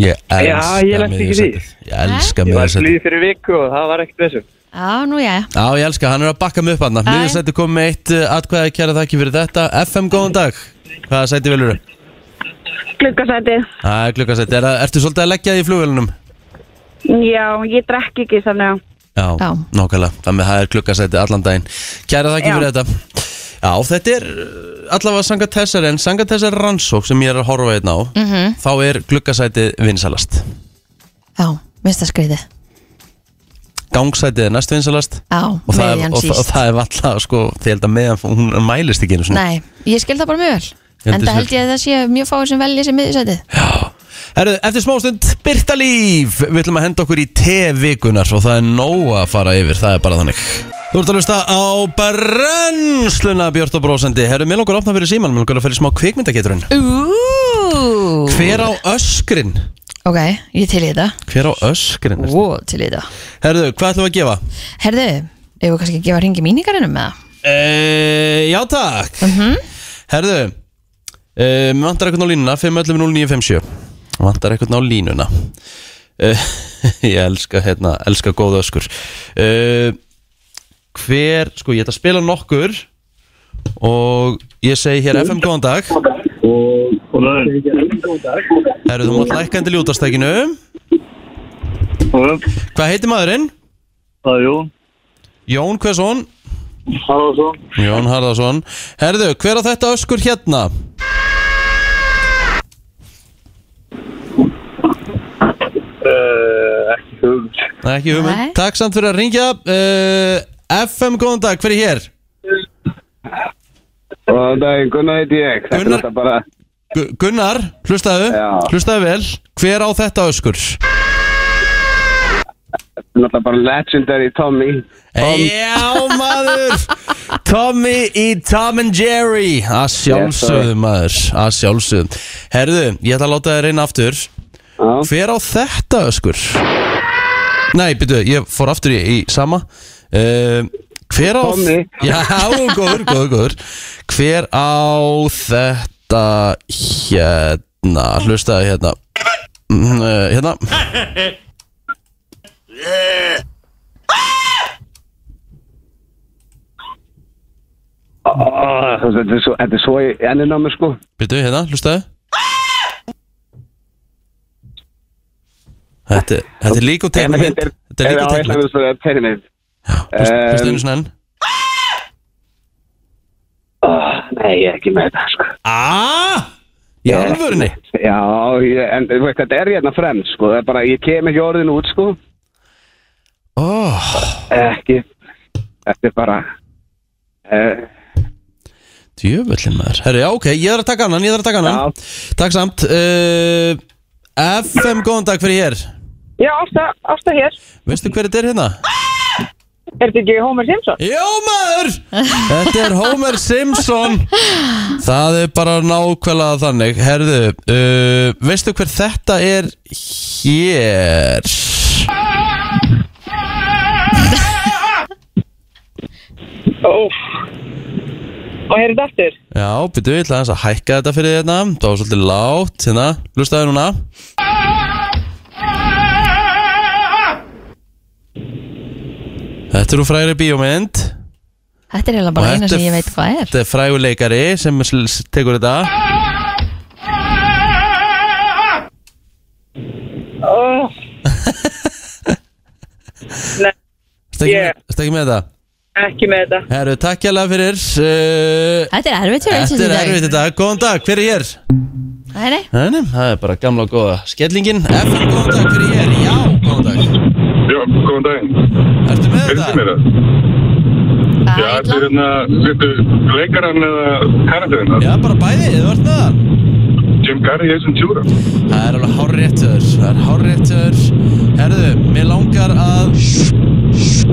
S1: Ég elska
S7: ég lenti ekki í því.
S1: miðjusætið. Ég elska
S7: Ég var
S1: miðursætið
S7: slíð fyrir viku og það var ekkert þessum.
S3: Já, nú já,
S1: Já, ég elska, hann er að bakka mig upp hann
S3: Æ.
S1: Miðursætið kom með eitt uh, atkvæði kæra þakki fyrir þetta FM, góðan dag Hvaða sæti velur þú?
S8: Gluggasæti.
S1: Það er klukkasæti, er, það- ertu svolítið að leggja þig í flugvélunum?
S8: Já, ég drekk ekki þannig að.
S1: Já,
S3: Já.
S1: nákvæmlega, þannig að það er klukkasæti allan daginn Kæra þakki
S8: Já.
S1: fyrir þetta Já, þetta er uh, allavega sanga þessar en sanga þessar rannsók sem ég er að horfa einn á -hmm. þá er klukkasætið vinsalast
S3: já, minnst það skrítið
S1: gangsætið er næst vinsalast
S3: Já,
S1: og það, er,
S3: miðjan
S1: og, það- og
S3: síst
S1: það er alltaf sko, því held að meðan hún mælist ekki einu sinni.
S3: Nei, ég skil það bara mjög vel
S1: held
S3: En
S1: þessi-
S3: það held ég að það sé mjög fáið sem velja sem miðjusætið
S1: Herðu, eftir smástund, Birta Líf Við ætlum að henda okkur í T-vikunar og það er nóg að fara yfir, það er bara þannig Þú ert að lusta á brennsluna Björn og Brósandi Herðu, mér langar að opna fyrir síman, mér langar að fyrir smá kvikmyndageturinn
S3: Ú
S1: Hver á öskrin?
S3: Ok, ég til í þetta
S1: Hver á öskrin?
S3: Ó, til í þetta
S1: Herðu, hvað ætlum við að gefa?
S3: Herðu, ef við kannski að gefa ringi míningarinnum með það
S1: E, já, takk Herðu, e, mér vantar eitthvað á línuna 511-0957 Mér Vantar eitthvað á línuna e, <laughs> Ég elska, hérna, elska góða öskur e, Hver, sko, ég ætla að spila nokkur Og ég segi hér FM góðan dag Herðu, þú mátt lækka endur ljútastækinu Hvað heitir maðurinn?
S4: Það er Jón
S1: Jón Hversson
S4: Harðarsson
S1: Jón Harðarsson Herðu, hver á þetta öskur hérna?
S4: uh, Ekki hugmynd
S1: Nei, ekki hugmynd.
S3: Nei.
S1: Takk samt fyrir að ringja. Uh, FM, góðan dag, hver er hér?
S7: Góðan dag, Gunnar heiti ég Þetta er
S1: Gunnar-
S7: þetta bara
S1: Gu Gunnar, hlustaðu,
S7: Já.
S1: hlustaðu vel. Hver á þetta öskur?
S7: Þetta er bara legendary Tommy
S1: Já, maður! Tommy í Tom and Jerry. Að sjálfsögðu, maður. Að sjálfsögðu. Herðu, ég ætla að láta þér reyna aftur.
S7: Já.
S1: Hver á þetta öskur? Nei, byrju, ég fór aftur í, í sama. Uh, hver á...
S7: Tommy.
S1: Já, góður, góður, góður Hver á þetta hérna Hlustaði hérna Mm, eh, Hérna
S7: Ó, þú veist, Ah, Þetta er svo, þetta er svo í ennin á mig sko
S1: Byrju, hérna, hlustaði Þetta, er- þetta er líka og teiknumynd Þetta er líka og teiknumynd
S7: Þetta er tegnmynd
S1: Hlustaði einu svona enn
S7: Ah, Nei, ég er ekki með þetta sko
S1: Aaaa Í alvörunni
S7: Já, ég, en þú veist, þetta er hérna fremd sko Það er bara, ég kem ekki orðin út sko
S1: oh,
S7: Ekki Þetta er bara uh,
S1: Djöfullin maður Herri, já, ok, ég þarf að taka annan, ég þarf að taka annan
S7: Já.
S1: Takk samt uh, FM, góðan dag fyrir hér
S8: Já, Ásta, Ásta hér.
S1: Veistu hver þetta er hérna?
S8: Er þetta ekki Homer Simpson?
S1: Jó maður! Þetta er Homer Simpson Það er bara nákvæmlega þannig Herðu, uh, veistu hver þetta er hér?
S8: Óf. Og heyrðu þetta aftur.
S1: Já, byrju, ég ætla aðeins að hækka þetta fyrir þérna Það var svolítið lágt, hérna, lustaðu núna Þetta er úr fræri bíómynd
S3: Þetta er eiginlega bara
S1: Og
S3: eina
S1: þetta
S3: sem
S1: er-
S3: ég veit hvað er
S1: Þetta er fræguleikari sem sl- s- tekur þetta <laughs>
S8: Óf. Nei,
S1: Þetta ekki,
S8: Yeah.
S1: yeah. ekki með þetta?
S8: ekki með þetta.
S1: Herru, takk hérlega fyrir uh,
S3: Þetta er erfitt hjá
S1: Þetta er erfitt þetta, góðan dag, hver er hér?
S3: Nei, nei,
S1: Nei, nei, það er bara gamla og góða Skellingin, FM, góðan dag, hver er hér? Já, góðan dag,
S10: Já, góðan daginn.
S1: ertu með
S10: Heyrðu
S1: þetta?
S10: mér það?
S3: það
S10: Já,
S3: er
S10: þetta er
S3: illa
S10: hérna, veitu, leikarann eða karakterinn það?
S1: Já, bara bæði, þið vart með það
S10: Jim Carrey, Jason Tjúra.
S1: Það er alveg háréttur, það er háréttur Herðu, mér langar að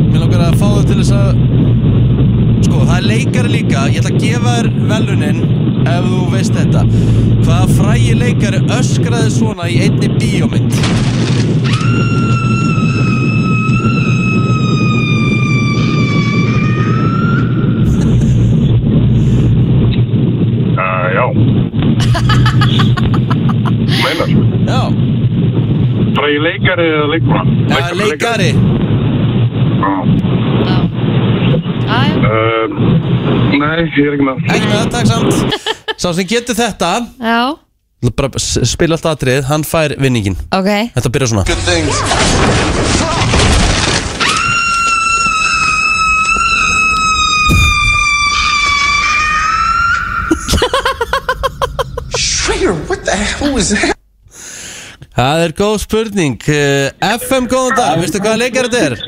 S1: Mér langar að fá þau til þess að Sko, það er leikari líka Ég ætla að gefa þér velunin Ef þú veist þetta Hvaða frægi leikari öskraði svona í einni bíómynd?
S10: Uh, já. Meinar,
S1: Já,
S10: fræði leikari eða leikmann?
S1: ja, leikari
S10: Já.
S3: Já, já.
S10: Uh, nei, ég er ekki með það.
S1: Ekki með það, takk samt Sá sem getur þetta
S3: Já,
S1: ætla bara að s- Spila allt atrið, hann fær vinningin
S3: ok
S1: Þetta byrjar svona Það er góð spurning Eh, FM, góðan dag, veistu hvaða leikari þetta er?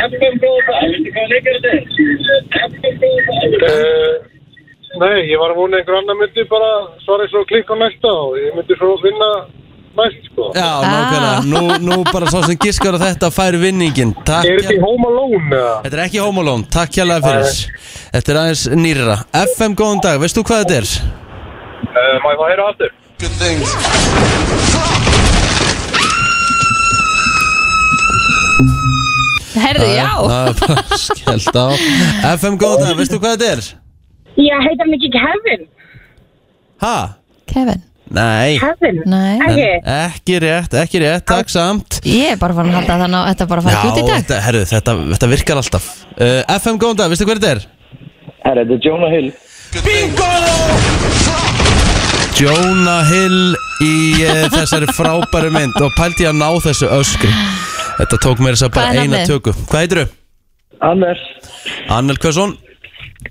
S7: FM góða, ég veit ekki hvað
S10: Eh, Nei, ég var að vona einhver annar myndi bara svara eins og klikka á næsta og ég myndi svo vinna næst sko.
S1: Já, nákvæmlega, nú, nú bara sá sem giskar á þetta fær vinningin Takk
S10: Er þetta í
S1: hérlega-
S10: Home Alone? eða?
S1: Þetta er ekki Home Alone, takk hérlega fyrir Þetta er aðeins nýrra FM, góðan dag, veist þú hvað þetta er?
S10: Eh, Má ég fá að heyra aftur?
S3: Herðu, já
S1: Það er bara <laughs> skellt á FM, góðan dag, veist þú hvað þetta er?
S9: Ég heita hann ekki Kevin.
S1: Ha?
S3: Kevin
S1: Nei
S9: Kevin?
S3: Nei
S1: En Ekki rétt, ekki rétt, takk samt
S3: Ég er bara farin að halda þannig að þetta er bara að fara út í dag
S1: þetta, herru, þetta, þetta virkar alltaf uh, FM, góðan dag, veistu hver þetta er?
S7: Herra, þetta er Jonah Hill
S1: Jonah Hill í uh, þessari frábæri mynd og pældi ég að ná þessu öskri Þetta tók mér þess að
S3: Hvað
S1: bara
S3: er
S1: eina
S3: nafnið?
S1: tökum Hvað heitir þau?
S7: Anders
S1: Annel Kvesson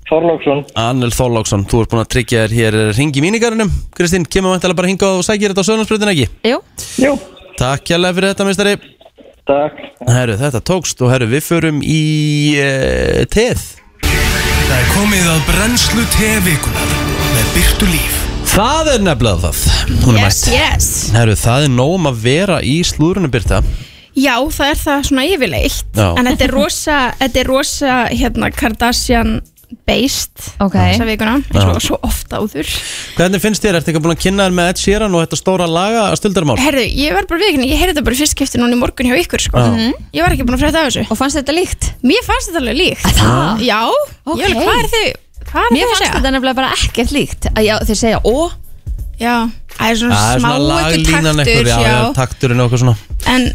S7: Þorlóksson
S1: Annel Þorláksson, þú ert búin að tryggja þér hér eh, hring í mínigarinnum Kristín, kemur vantilega bara hingað og sækir þetta á söðnarsbreytin ekki?
S3: Jú,
S7: Jú
S1: Takk kjærlega fyrir þetta, mistari
S7: Takk
S1: Herru, þetta tókst og herru, við förum í uh, teð
S2: Það er komið að brennslu tevikunar með Byrtu Líf
S1: Það er nefnilega það Hún er
S11: Yes,
S1: mætt
S11: yes
S1: Herru, það er nóg um að vera í slúðrunum byrta
S11: Já, það er það svona yfirleitt
S1: Já.
S11: En þetta er rosa, þetta er rosa hérna, Kardashian based
S3: okay.
S11: Þessa vikuna
S1: Já.
S11: eins og svo ofta áður
S1: Hvernig finnst þér, ertu ekki búin að kynna þér með Ed Sheeran og þetta stóra laga að stildarmál?
S11: Herðu, ég var bara viðkynni, ég heyrði þetta bara í fyrst skipti núna í morgun hjá ykkur sko.
S1: Já. Mhm.
S11: Ég var ekki búin að frétta af þessu
S3: Og fannst þetta líkt?
S11: Mér fannst þetta alveg líkt
S3: það?
S11: Já, okay. ég, alveg, hvað er þau Hvað er
S3: Mér
S11: þau að
S3: fannst
S11: segja?
S3: þetta nefnilega bara ekkert líkt Að Já, þeir segja ó
S11: Já, það er svona
S1: Það er
S11: smá
S1: svona
S11: ykkur
S1: laglínan
S11: taktur
S1: eitthvað, já, já, takturinn og eitthvað svona
S11: En,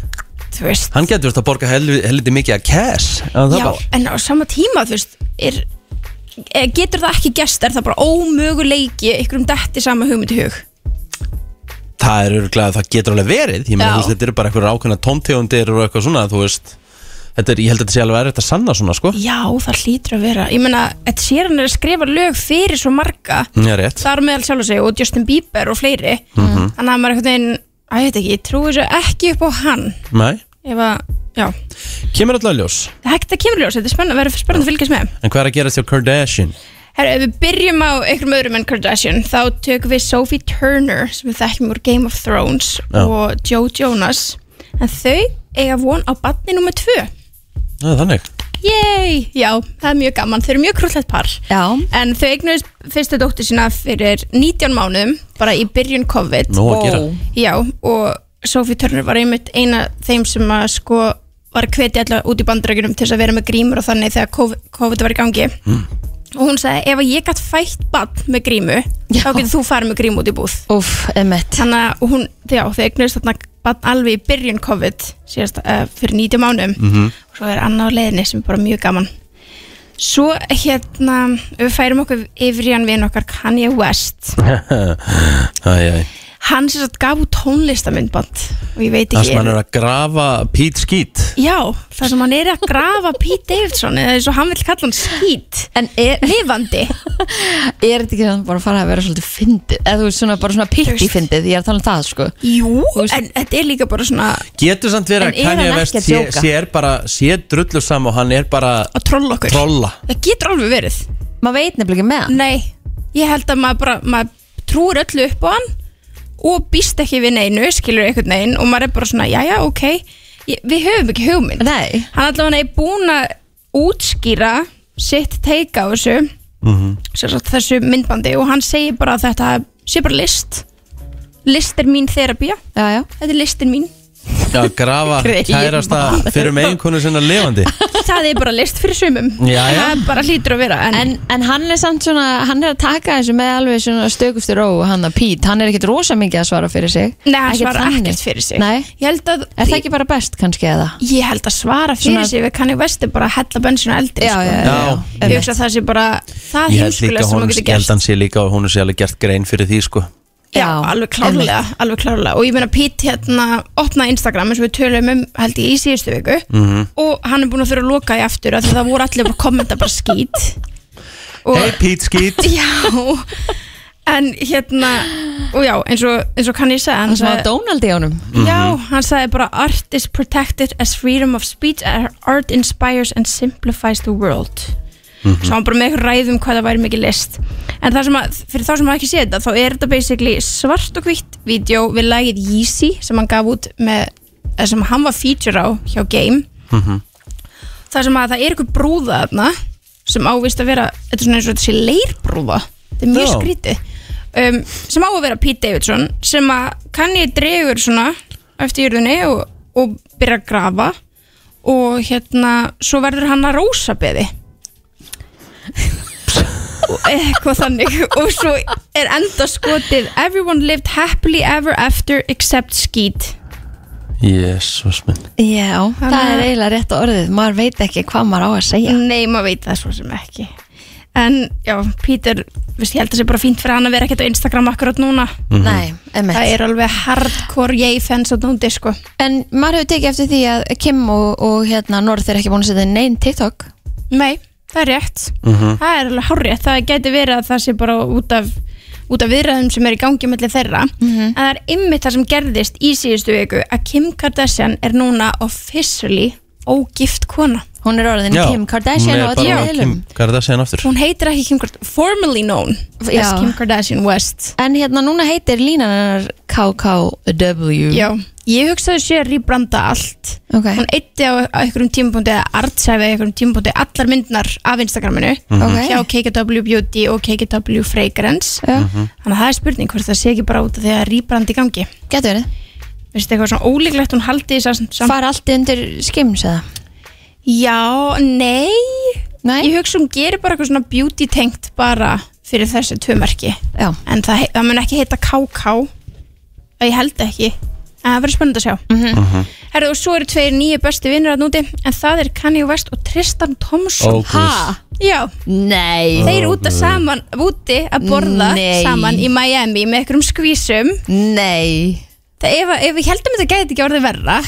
S11: þú veist
S1: Hann getur þetta að borga helvi- helviti mikið að cash en það
S11: Já,
S1: bara-
S11: en á sama tíma, þú veist, er, er, getur það ekki gest, er það bara ómöguleiki ykkur um detti sama hugmynd í hug?
S1: Það er örgulega, það getur alveg verið Ég meina,
S11: Já.
S1: þú veist, þetta eru bara eitthvað ákveðna tómtegundir og eitthvað svona, þú veist Þetta er, ég held að þetta sé alveg erfitt að sanna svona, sko
S11: Já, það hlýtur að vera. Ég meina, Ed Sheeran er að skrifa lög fyrir svo marga,
S1: Já, rétt
S11: þar meðal sjálf að segja, og Justin Bieber og fleiri.
S1: Mhm.
S11: Þannig að maður einhvern veginn, að ég veit ekki, ég trúi þessu ekki upp á hann.
S1: Nei,
S11: Ef að, já,
S1: kemur alltaf ljós
S11: það er ekkert að kemur ljós, þetta er spennandi, verður spennandi að fylgjast með.
S1: En hvað er að gera þér Kardashian?
S11: Herra, ef við byrjum á einhverjum öðrum en Kardashian þá tökum við Sophie Turner sem við þekkjum úr Game of Thrones
S1: Já.
S11: og Joe Jonas en þau eiga von á badni nummer tvö
S1: Það er þannig <laughs>
S11: Yay! Já, það er mjög gaman, þau eru mjög krúllett par
S3: Já.
S11: en þau eignuðist fyrstu dóttir sína fyrir 19 mánuðum bara í byrjun COVID
S1: Nóg að gera. Ó.
S11: Já, og Sophie Turner var einmitt eina þeim sem að sko var hvetja alltaf út í bandarækjunum til þess að vera með grímur og þannig þegar COVID- COVID var í gangi
S1: Hmm.
S11: og hún sagði ef að ég gætt fætt bann með grímu þá getur þú farið með grímu út í búð
S3: Úf, emmett
S11: þannig að og hún, já, þau eignuðist þarna bann alveg í byrjun COVID síðast, uh, fyrir 90 mánum
S5: Mhm.
S11: og svo er annað á leiðinni sem er bara mjög gaman svo hérna við færum okkur yfir í hann við okkar Kanye West
S1: Æ, æ.
S11: hann sem sagt gaf út tónlistamindband og ég veit
S1: Það
S11: ekki
S1: sem hann er að grafa Pete Skeet
S11: já, það sem hann er að grafa Pete Davidson eða eins og hann vil kalla hann skít
S3: en er
S11: lifandi
S3: Er þetta ekki þannig bara að fara að vera svolítið fyndið Eða þú veist svona bara svona pikki fyndið Ég er að tala um það sko
S11: Jú, en þetta er líka bara svona
S1: Getur samt verið
S11: En
S1: að
S11: er
S1: Kanye
S11: hann
S1: West
S11: ekki að
S1: sé,
S11: djóka?
S1: sé er bara sé drullu sam og hann er bara
S11: að trolla okkur
S1: Trolla
S11: það getur alveg verið
S3: maður veit nefnilega ekki með
S11: hann nei, ég held að maður bara maður trúir öllu upp á hann og býst ekki við neinu, skilur einhvern veginn og maður er bara svona, jæja, ok ég, við höfum ekki hugmynd
S3: nei.
S11: hann allavega er búin að útskýra sitt teika á þessu
S1: Mhm.
S11: sem sagt, þessu myndbandi og hann segir bara að þetta sé bara list list er mín þerapía
S3: já, já.
S11: þetta er
S3: <laughs>
S11: listin mín
S1: að grafa
S11: <laughs> Greyið
S1: kærasta
S11: maður.
S1: fyrir meginkonu sinna levandi
S11: það er bara list fyrir sumum
S1: Já, já.
S11: það bara hlýtur að vera en,
S3: en, hann er samt svona, hann er að taka þessu með alveg svona stökustur ó hann að Pít, hann er ekkert rosa mikið að svara fyrir sig
S11: Nei, hann
S3: Ekkert
S11: svarar
S3: þannig.
S11: ekkert fyrir sig.
S3: Nei,
S11: ég held að
S3: er það ekki bara best kannski eða?
S11: Ég held að svara fyrir
S3: Svona-
S11: sig við kannu vestu bara að hella bensinu eldri já, sko.
S1: já, já. Já,
S11: Ég
S1: einmitt.
S11: hugsa að það sé bara það
S1: Ég held líka
S11: heimskulega Ah, sem
S1: hún, ég
S11: maður
S1: held
S11: getur gert
S1: hann sé líka og hún sé alveg gert grein fyrir því sko
S11: Já, alveg klárlega, alveg klárlega og ég meina Pete hérna opnaði Instagram eins og við töluðum um held ég í síðustu viku
S1: Mhm.
S11: og hann er búin að þurfa að loka í aftur af því <laughs> það voru allir bara að kommenta bara skít
S1: Hey Pete Skeet
S11: Já En hérna, og já, eins og, eins og kann ég segja
S3: Hann sem var Donald í honum
S11: Já, hann sagði bara Art is protected as freedom of speech and Art inspires and simplifies the world Svo hann bara með eitthvað ræðum hvað það væri mikið list En það sem að, fyrir þá sem að ekki sé þetta Þá er þetta basically svart og hvitt Vídeó við lagið Yeezy Sem hann gaf út með eða Sem hann var feature á hjá Game Það sem að það er eitthvað brúða þarna Sem ávist að vera Þetta er svona eins og þetta sé leirbrúða Þetta er mjög
S5: Já.
S11: skrítið um, sem á að vera Pete Davidson sem að kanni dregur svona eftir jörðunni og, og byrja að grafa og hérna svo verður hann að rósabeði og eitthvað þannig og svo er enda skotið everyone lived happily ever after except Skeet
S1: Jésús minn
S3: Já, það er eiginlega rétt á orðið Maður veit ekki hvað maður á að segja
S11: Nei, maður veit það svo sem ekki en já, Peter viðst, ég held að það sé bara fínt fyrir hann að vera ekkert á Instagram akkurat núna
S3: Mhm. Nei, einmitt.
S11: Mm. það er alveg hardcore yay fans á núndi sko
S3: En maður hefur tekið eftir því að Kim og, og hérna North er ekki búin að setja neinn TikTok
S11: Nei, það er rétt
S1: Hm.
S3: Mhm.
S11: Það er alveg hárrétt, það gæti verið að það sé bara út af, út af viðræðum sem er í gangi mellir þeirra, en það er ymmið það sem gerðist í síðustu viku að Kim Kardashian er núna officially ógift kona
S3: Hún er orðin
S1: Já, hún er
S11: og
S1: bara Kim
S11: öllum miðlum
S1: Kardashian aftur
S11: Hún heitir ekki Kim Kardashian, formerly known as
S3: Já.
S11: Kim Kardashian West
S3: En hérna núna heitir línan hennar KKW
S11: Já, Mm. ég hugsaði sé að rýbranda allt
S3: okay.
S11: Hún eitti á, á einhverjum tímapunkti eða artsæfi á einhverjum tímapunkti allar myndnar af Instagraminu
S3: Mhm. Ok.
S11: hjá KKW Beauty og KKW Fragrance
S3: Mhm.
S11: Þannig að það er spurning hvort það sé ekki bara út af því að rýbrandi í gangi
S3: Getur verið
S11: Veistu eitthvað svona ólíklegt hún haldi þess að
S3: Far allt undir skims eða?
S11: Já, nei Nei Ég hugsa hún gerir bara eitthvað svona beauty tengt bara fyrir þessi tvömerki
S3: Já
S11: En það, hei- það mun ekki heita KK Ég held ekki En það verður spennandi að sjá
S1: Mhm.
S11: Herðu, og svo eru tveir nýju bestu vinnur að núti En það er Kanye West og Tristan Thompson
S5: Ó, guð. Ha?
S11: Já
S3: Nei
S11: Þeir út
S5: Ó,
S11: að
S5: guð.
S11: saman, úti að borða
S3: Nei.
S11: saman í Miami með einhverjum skvísum
S3: Nei
S11: Það, ef, ef við heldum að þetta gæti ekki orðið verra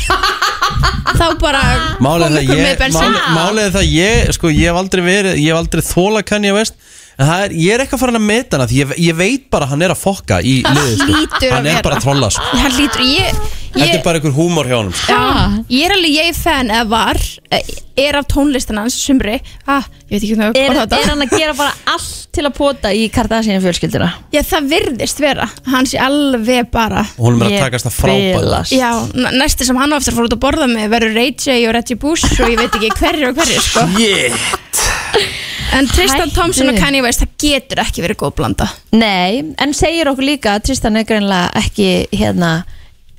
S11: Þá bara
S1: Málið
S11: kom
S1: er
S11: ykkur
S1: það
S11: með
S1: ég,
S11: bensín.
S1: málið, málið er það ég, sko, ég hef aldrei verið, ég hef aldrei þóla Kanye West En það er, ég er ekki að fara hann að meta hana Því ég, ég veit bara að hann er að fokka í
S11: Það
S1: liðið sko.
S11: hlýtur að
S1: Hann er
S11: vera.
S1: bara að trolla sko.
S11: Hann lítur, ég,
S1: Þetta
S11: ég,
S1: er bara einhver húmor hjá honum sko.
S11: Já, ég er alveg ég fan eða var, eh, er af tónlistan hans sumri, ah, ég veit ekki hvernig
S3: er,
S11: að orða þetta.
S3: er hann að gera bara allt til að pota í Kardashian fjölskyldina?
S11: Já, það virðist vera, hann sé alveg bara
S1: Og honum er að Ég takast það frábært. bilast.
S11: Já, n- næsti sem hann á eftir að fara út að borða með verður Ray J og Reggie Bush og ég veit ekki hverjir og hverjir sko
S1: yeah.
S11: En Tristan
S3: Hættu.
S11: Thompson og Kanye West, það getur ekki verið góð blanda
S3: Nei, en segir okkur líka að Tristan er greinlega ekki hérna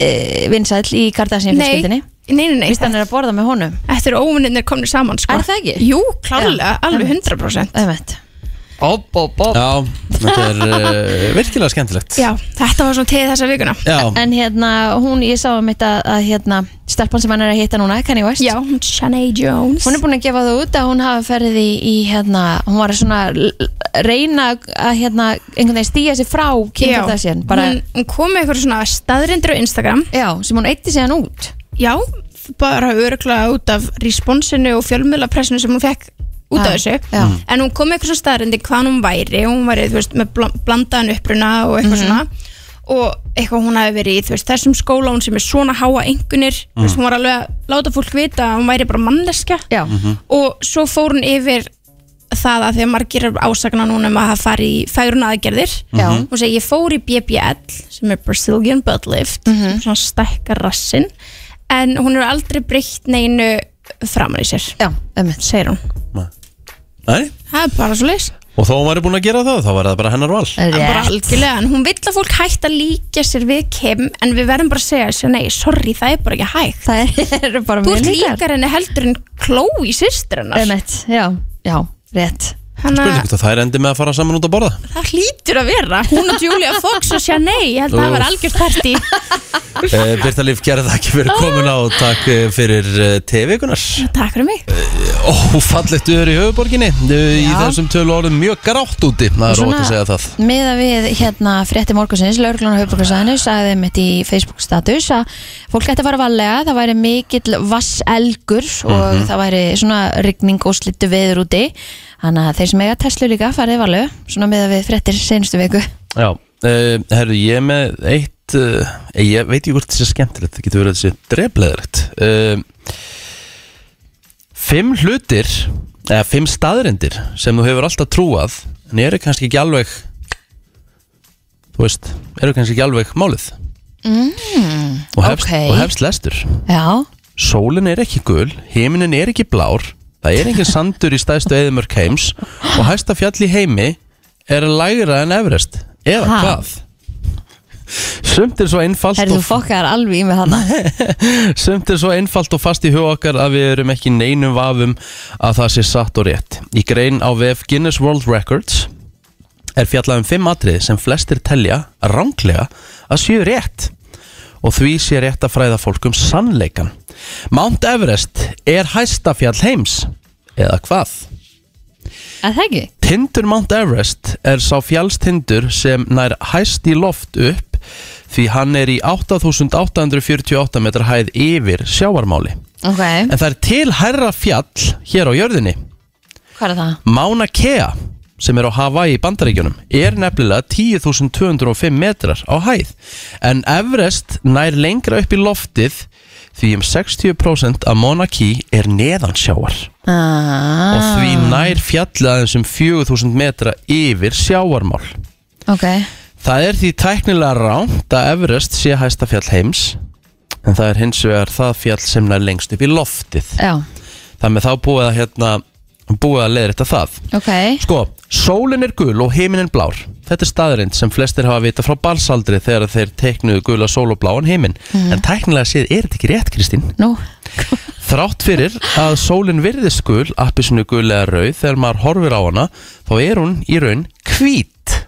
S3: e, vinsæll í Kardashian
S11: Nei,
S3: fjölskyldinni
S11: Nei, nei, nei
S3: Tristan er að borða með honum
S11: Þetta eru óvinnir komnir saman sko
S3: Er það ekki?
S11: Jú, klárlega, alveg 100%
S3: Einmitt. Bob, bob, bob
S1: Já, þetta er uh, virkilega skemmtilegt
S11: Já, þetta var svona til þessa vikuna
S1: Já.
S3: En hérna, hún, ég sá um þetta að hérna, stelpan sem hann er að hitta núna, Kanye West
S11: Já, hún Shanae Jones
S3: Hún er búin að gefa það út að hún hafi ferið í, í hérna, hún var að svona l- l- reyna að hérna, einhvern veginn stíja sig frá Kim
S11: Já,
S3: Kardashian bara,
S11: hún, hún kom með eitthvað svona staðrindur á Instagram
S3: Já, sem hún eitti sig hann út
S11: Já, bara öruglega út af responsinu og fjölmjölapressinu sem hún fekk út af þessu
S3: Ah, já.
S11: En hún kom með eitthvað svona staðrindi hvað hún væri hún væri, þú veist, með bl- blandaðan uppruna og
S3: Mhm.
S11: eitthvað svona og eitthvað hún hafi verið í þú veist, þessum skóla hún sem er svona háa engunir mm.
S5: Mhm.
S11: hún var alveg að láta fólk vita að hún væri bara mannleska
S3: Já
S11: og svo fór hún yfir það að því að margir er ásakna núna um að það fari í færun aðgerðir
S5: Já.
S11: hún segi ég fór í BBL sem er Brazilian Butt Lift svona stækkar rassin en hún hefur aldrei breytt neinu framan í sér
S3: Já,
S11: segir hún
S1: Nei,
S11: það er bara svo leys
S1: og þó hún væri búin að gera það, þá var það bara hennar val
S11: bara algjörlega en hún vill að fólk hægt að líka sér við Kim en við verðum bara að segja sér nei, sorry, það er bara ekki hægt
S3: það er bara
S11: þú ert
S3: mjög líkar.
S11: líkar henni heldur en Chloe systir hennar
S3: Einmitt, já, já, rétt
S11: Hanna,
S1: Spurning hvort að þær endi með að fara saman út að borða
S11: það hlýtur að vera hún og Julia Fox og Sianei ég held að það var algjörst partí
S1: uh, Birta Líf, gera það ekki fyrir komin á og Takk uh, fyrir uh, TV-kunar
S11: takk fyrir mig
S1: Ófallegt öður í höfuborginni uh, Í þessum tölu orðum mjög grátt úti Það er óvægt að segja það
S3: Miða við hérna frétti morgunsins, lauruglan og höfbrukarsæðinu sagði mitt í Facebook status að fólk ætti að fara valega, það væri mikill vasselgur og
S5: Mhm.
S3: það væri svona rigning og slittu veður úti þannig að þeir þeir sem eiga Tesla líka farið varlu svona með að við frettir seinustu viku
S1: Já, uh, herru, ég er með eitt uh, Ég veit ekki hvort þetta sé skemmtilegt Það getur verið að þetta sé drefleðilegt uh, Fimm hlutir Eða fimm staðrindir Sem þú hefur alltaf trúað En eru kannski ekki alveg Þú veist, eru kannski ekki alveg málið
S3: mm,
S1: Og hefst,
S3: ok.
S1: og hefst lestur
S3: Já,
S1: Sólin er ekki gul, himinin er ekki blár Það er engin sandur í stæðstu eðumörk heims Og hæsta fjall í heimi er lægra en Everest Eða
S3: Ha?
S1: hvað? Sumt er svo einfalt
S3: herðu þú
S1: og,
S3: fokkar alveg í mig þarna
S1: Sumt er svo einfalt og fast í huga okkar að við erum ekki í neinum vafum að það sé satt og rétt Í grein á vef Guinness World Records er fjallað um fimm atrið sem flestir telja ránglega að séu rétt og því sé rétt að fræða fólk um sannleikan. Mount Everest er hæsta fjall heims, eða hvað?
S3: Er það ekki?
S1: Tindur Mount Everest er sá fjallstindur sem nær hæst í loft upp því hann er í 8848 metrar hæð yfir sjávarmáli.
S3: Ok,
S1: En það er til hærra fjall hér á jörðinni.
S3: hvað er það?
S1: Mauna Kea sem er á Hawaii í bandaríkjunum er nefnilega 10.205 metrar á hæð en Everest nær lengra upp í loftið því um 60% af Mauna Kea er neðansjáar
S3: Ah,
S1: og því nær fjallið aðeins um 4.000 metra yfir sjáarmál
S3: Ah, Ok,
S1: Það er því tæknilega rámt að Everest sé hæsta fjall heims en það er hins vegar það fjall sem nær lengst upp í loftið
S3: já,
S1: þar með þá búið að hérna búið að leiðrita það
S3: ok
S1: Sko, sólin er gul og himinin blár Þetta er staðarind sem flestir hafa vita frá balsaldri þegar þeir teiknuðu gula sól og bláan himin
S3: Mhm.
S1: En tæknilega séð er þetta ekki rétt, Kristín
S3: Nú,
S1: Þrátt fyrir að sólin virðist gul, appisinu gul eða rauð Þegar maður horfir á hana, þá er hún í raun hvít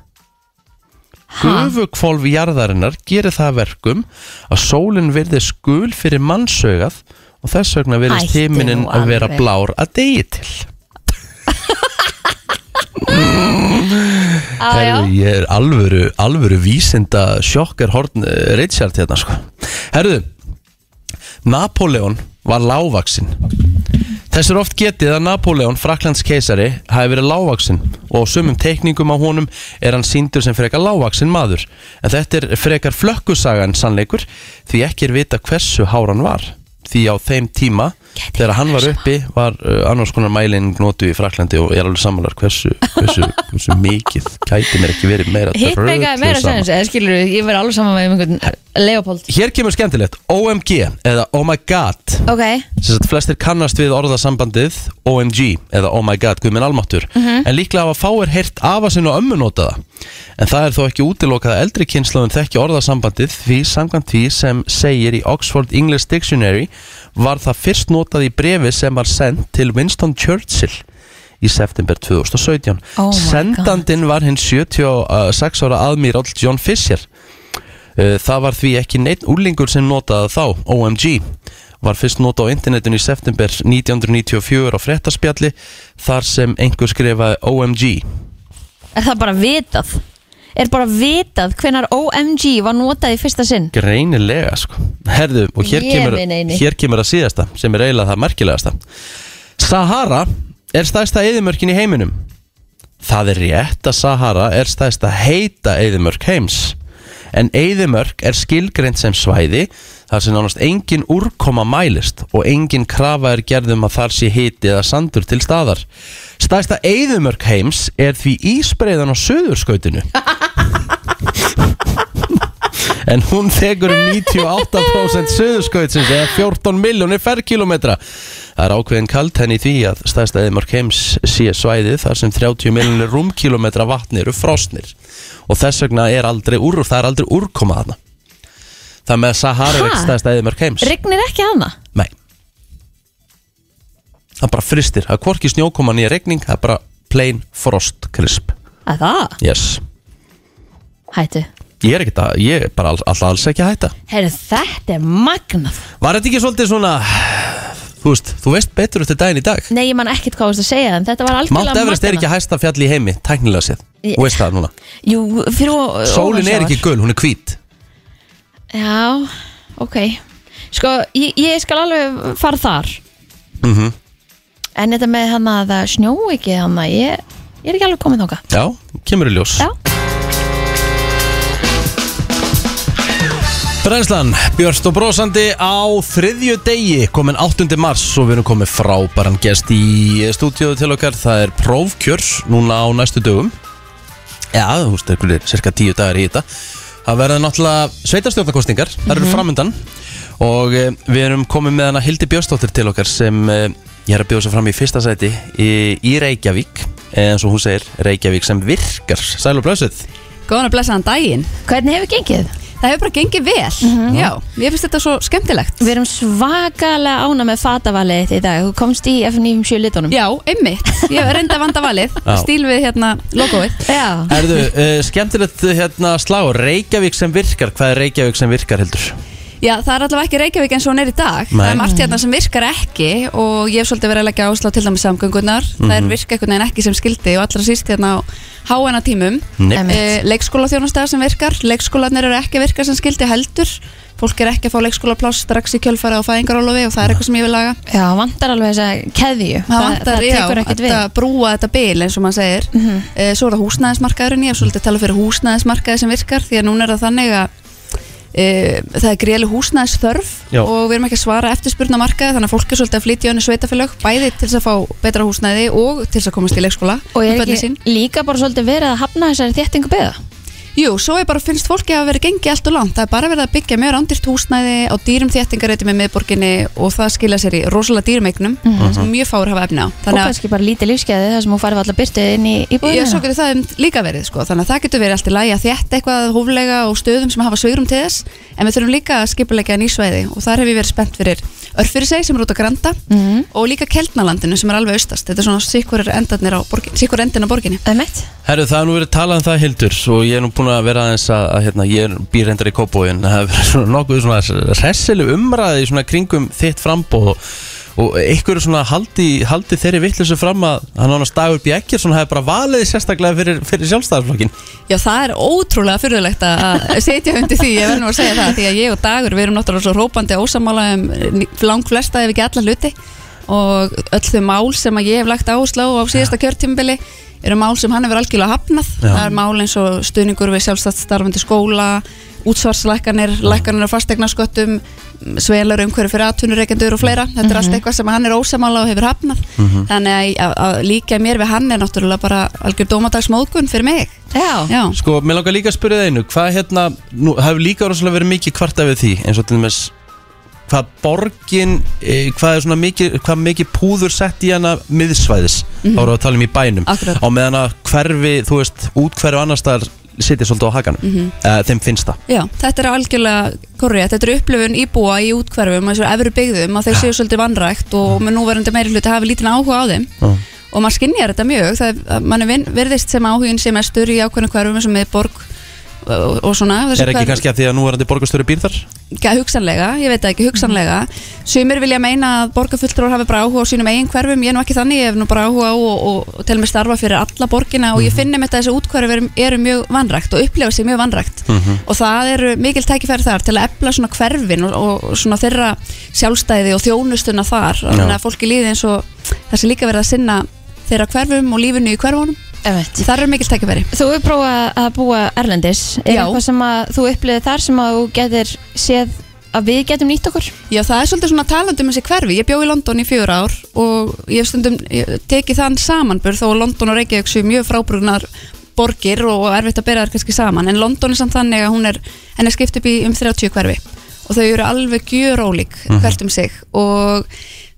S1: Gufukvolf jarðarinnar gerir það að verkum að sólin virðist gul fyrir mannsaugað og þess vegna virðist
S5: Hættu
S1: himinin
S5: nú
S1: að vera
S5: alveg.
S1: blár að degi
S5: <laughs>
S1: til
S5: Ah,
S3: á, já,
S1: Herðu, ég er alvöru, alvöru vísinda sjokkar horn eh, Richard hérna sko Herðu, Napoleon var lávaksinn Þess er oft getið að Napoleon, Fraklands keisari, hafi verið lávaksinn og á sumum teikningum á honum er hann síndur sem frekar lávaksinn maður en þetta er frekar flökkusagan sannleikur því ekki er vita hversu hár hann var því á þeim tíma þegar hann var uppi var uh, annars konar mæling notu í Fraklandi og ég er alveg sammálar hversu, hversu, hversu mikið gæti mér ekki verið meira
S3: hitt meika er meira
S1: drullusama.
S3: sennins eða skilur við, ég verði alveg saman með um einhvern Leopold
S1: Hér kemur skemmtilegt, OMG eða Oh my god
S3: Ok,
S1: Sess að flestir kannast við orðasambandið OMG eða Oh my god, Guðminn Almáttur
S5: Mhm.
S1: en líklega hafa fáir heyrt afa sinn og ömmu nota það en það er þó ekki útilokað að eldri kynnslóðin þekki orðasambandið því samkvæmt því sem segir í Oxford English Dictionary var það fyrst notað í brefi sem var sendt til Winston Churchill í september 2017
S5: Oh my
S1: Sendandinn var hinn 76 ára aðmíral John Fisher Uh, Það var því ekki neitt úrlingur sem notaði þá, OMG var fyrst nota á internetinu í september 1994 á frettaspjalli þar sem einhver skrifaði OMG
S3: er það bara vitað? Er bara vitað hvenar OMG var notað í fyrsta sinn?
S1: greinilega sko Herðu, og hér
S3: Ég
S1: kemur,
S3: minn eini.
S1: hér kemur að síðasta sem er eiginlega það merkilegasta Sahara er stærsta eðimörkin í heiminum Það er rétt að Sahara er stærsta heita eðimörk heims En eðimörk er skilgreint sem svæði þar sem nánast engin úrkoma mælist og engin krafa er gerðum að þar sé hiti eða sandur til staðar. Stærsta eðimörk heims er því ísbreiðan á söðurskautinu. en hún þekur um 98% söðurskautsins eða 14 miljónir ferrkilometra það er ákveðin kalt henni því að stærsta eðimörk heims sé svæðið þar sem 30 miljónir rúmkilometra vatni eru frosnir og þess vegna er aldrei úr það er aldrei úrkoma þarna það með Sahara er ekki
S3: Ha?
S1: stærsta eðimörk heims
S3: Rignir ekki hana?
S1: nei það bara fristir, það er hvorki snjókoma nýja regning það er bara plain frost crisp
S3: Að það?
S1: yes,
S3: Hættu
S1: ég er ekki það, ég er bara all- alltaf alls ekki að hætta
S3: Herru, þetta er magnað
S1: Var þetta ekki svolítið svona Þú veist, þú veist betur eftir daginn í dag
S3: Nei, ég man ekkert hvað þú varst að segja en þetta var algjörlega
S1: Mount Everest er
S3: magnað.
S1: ekki hæsta fjall í heimi Tæknilega séð,
S3: Ég-
S1: þú veist það núna
S3: Jú, fyrir og
S1: Sólin er ekki gul, hún er hvít
S3: Já, ok Sko, ég, ég skal alveg fara þar
S1: mm -hmm.
S3: En þetta með hann að það snjó ekki hann að ég Ég er ekki alveg komin þóka
S1: Já, kemur í ljós
S3: Já.
S1: Brænslan, Björst og Brósandi á þriðju degi, komin 8. mars og við erum komið frábæran gest í stúdíóðu til okkar, það er prófkjör núna á næstu dögum Já, þú veist, það er cirka tíu dagar í þetta Það verða náttúrulega sveitarstjórnarkostingar, það eru
S12: Mhm.
S1: framöndan Og eh, við erum komið með hana Hildi Björnsdóttir til okkar sem eh, ég er að bjóða sig fram í fyrsta sæti í, í Reykjavík En svo hún segir, Reykjavík sem virkar, sæl og blöðsöð
S11: Góðan að blessa hann daginn
S3: Hvernig hefur gengið?
S11: Það hefur bara gengið vel Já, mér finnst þetta svo skemmtilegt
S3: Við erum svakalega ána með fatavalið í dag Þú komst í F97 litunum
S11: Já, einmitt Ég hef reynda að vanda valið
S1: Já.
S11: Stíl við hérna logoið
S3: Já
S1: Erðu, uh, skemmtilegt eh, hérna slá, Reykjavík sem virkar, hvað er Reykjavík sem virkar heldur?
S11: Já, það er allavega ekki Reykjavík eins og hún er í dag
S1: Nei.
S11: Það er margt hérna sem virkar ekki og ég hef svolítið verið að leggja áslá til dæmis samgöngunar Það er
S1: Mhm.
S11: virka einhvern veginn ekki sem skildi og allra síst hérna á háena tímum
S1: Nei. Einmitt.
S11: Leikskóla sem virkar, leikskólanir eru ekki að virka sem skildi heldur Fólk er ekki að fá leikskólapláss strax í kjölfæra og fæðingarólofi og það er eitthvað sem ég vil laga
S3: Já, vantar alveg þess að keðju
S11: Það vantar,
S3: það
S11: já,
S3: tekur ekkert við Mhm.
S11: að brúa þetta bil eins og maður segir mm Svo er það húsnæðismarkaðurinn, ég hef svolítið talað fyrir húsnæðismarkaði sem virkar Því að núna er það þannig að uh, það er greiðli húsnæðisþörf
S13: Já.
S11: Og við erum ekki að svara eftirspurna markaði Þannig að fólk er svolítið að flytja í önni sveitafélög Bæði til þess að fá betra húsnæði og til þess að komast í leikskóla
S3: Og
S11: með
S3: er
S11: börnin
S3: ekki líka bara svolítið verið að hafna þessari þéttingu beða?
S11: Jú, svo er bara finnst fólki að vera gengið allt og langt Það er bara verið að byggja mjög rándýrt húsnæði á dýrum þéttingareitum með miðborginni og það skila sér í rosalega dýrum eignum
S3: Mhm.
S11: sem mjög fáur hafa efni á
S3: og kannski bara lítið lífskeiði þar sem hún farið allar byrtið inn í
S11: Já,
S3: íbúðina
S11: svo getur það um- líka verið sko. þannig að það getur verið allt í lagi að þétta eitthvað hóflega og stöðum sem hafa svigrum til þess en við þurfum líka að skipulegja nýsvæði og þar hef ég verið spennt fyrir örfyrir seg sem er út á Granda
S3: Mhm.
S11: og líka Keltnalandinu sem er alveg austast þetta er svona sikkur endarnir á borginni sikkur endin á borginni
S3: Emmett
S1: Herru, það er nú verið talað um það Hildur og ég er nú búin að vera aðeins að, að hérna, ég er býrhendar í Kópóin það hefur verið svona nokkuð svona hressilu umræði svona kringum þitt frambóð og, og einhverju svona haldi, haldi þeirri vittlusu fram að hann ánast dagur bjekkir svona hefur bara valið sérstaklega fyrir, fyrir sjálfstæðarflokkin
S11: Já, það er ótrúlega fyrðulegt að setja undir því, ég verður nú að segja það því að ég og Dagur, við erum náttúrulega svo rópandi ósamála um lang flesta ef ekki alla hluti og öll þau mál sem að ég hef lagt áherslu á á síðasta kjörtímbili eru mál sem hann hefur algjörlega hafnað
S13: Já.
S11: það er mál eins og stuðningur við sjálfstæðstarfandi skóla útsvarslækkanir, lækkanir á fastegnasköttum svelar umhverju fyrir atvinnureikendur og fleira, þetta er allt eitthvað sem hann er ósamála og hefur hafnað
S13: Mhm.
S11: þannig að, að, að líka mér við hann er náttúrulega bara algjör dómadagsmóðgun fyrir mig
S3: Já,
S11: Já.
S1: Sko, mér langar líka að spyrja það einu hvað hérna, nú hefur líka rosalega verið mikið kvarta við því eins og til dæmis hvað borgin, eh, hvað er svona mikið hvað mikið púður sett í hana miðsvæðis,
S11: Mhm.
S1: þá erum við að tala um í bænum
S11: Akkurat.
S1: á meðan að hverfi, þú veist út hverfi annars staðar sitja svolítið á hakanum mm
S11: Mhm.
S1: þeim finnst það
S11: Já, þetta er algjörlega korrið, þetta er upplifun íbúa í útkverfum og þessu efru byggðum að þeir séu svolítið vanrækt og með núverandi meiri hluti hafi lítinn áhuga á þeim og maður skinnjar þetta mjög, það er, að manni vin- virðist sem áhugin sé mestur í ákveðinu hverfum eins og með borg og, og svona þessi
S1: Er ekki
S11: hverfi-
S1: kannski að því að nú er þetta borgastöru býr þar?
S11: Já, hugsanlega, ég veit það ekki, hugsanlega Sumir vilja meina að borgarfulltrúar hafi bara áhuga á sínum eigin hverfum, ég er nú ekki þannig ég hef nú bara áhuga á og, og, og tel mig starfa fyrir alla borgina og ég finn um þetta að þessi útkverfi eru, eru mjög vanrækt og upplifa sér mjög vanrækt og það eru mikil tækifæri þar til að efla svona hverfin og, og svona þeirra sjálfstæði og þjónustuna þar
S1: Já.
S11: þannig að fólki líði eins og það sé líka verið að sinna þeirra hverfum og lífinu í hverfunum þar eru mikil tækifæri
S3: Þú hefur prófað að búa Erlendis Er
S11: Já.
S3: eitthvað sem að þú upplifið þar sem að þú getur séð að við getum nýtt okkur?
S11: Já, það er svolítið svona talandi um þessi hverfi. Ég bjó í London í fjör ár og ég hef stundum ég, tekið þann samanburð þó að London og Reykjavík séu mjög frábrugnar borgir og erfitt að bera þær kannski saman. En London er samt þannig að hún er, henni er skipt upp í um 30 hverfi og þau eru alveg gjör ólík
S13: Mhm.
S11: hvert um sig og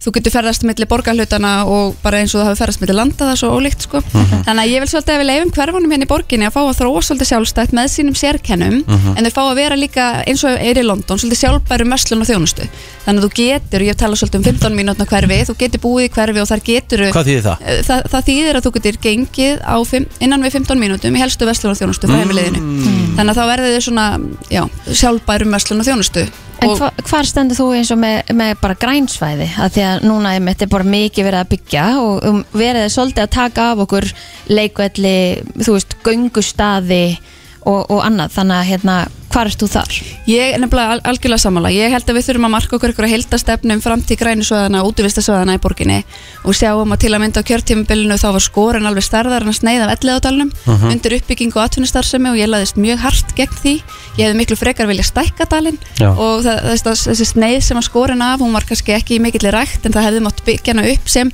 S11: þú getur ferðast millir borgarhlutana og bara eins og það hafi ferðast millir landa það er svo ólíkt sko. Þannig að ég vil svolítið að við leifum hverfunum hérna í borginni að fá að þróa svolítið sjálfstætt með sínum sérkennum
S13: Mhm.
S11: en þau fá að vera líka eins og er í London svolítið sjálfbæru möslun um og þjónustu þannig að þú getur, ég tala svolítið um 15 mínútna hverfi þú getur búið í hverfi og þar getur eh,
S1: Hvað þýðir það?
S11: það, það þýðir að þú getur gengið á fimm, innan við 15 mínútum í helstu vestlun og þjónustu frá heimiliðinu þannig að þá verður þau svona já, sjálfbæru möslun og þjónustu
S3: En hva, hvar stendur þú eins og með, með bara grænsvæði? Að því að núna er þetta bara mikið verið að byggja og um, verið er svolítið að taka af okkur leikvelli, þú veist, göngustaði og, og annað. Þannig að hérna, Hvar ert þú þar?
S11: Ég er nefnilega al algjörlega sammála. Ég held að við þurfum að marka okkur einhverja heildastefnum framtíð grænusvæðana og útivistasvæðana í borginni og sjáum að til að mynda á kjörtímabilinu þá var skorin alveg starðar en að sneiða af elliðadalnum
S13: Mhm.
S11: undir uppbyggingu og atvinnustarfsemi og ég laðist mjög hart gegn því. Ég hefði miklu frekar vilja stækka dalinn
S13: Já.
S11: og það, þess, þess, þessi sneið sem var skorin af, hún var kannski ekki í mikillir rækt en það hefði mátt byggja hana upp sem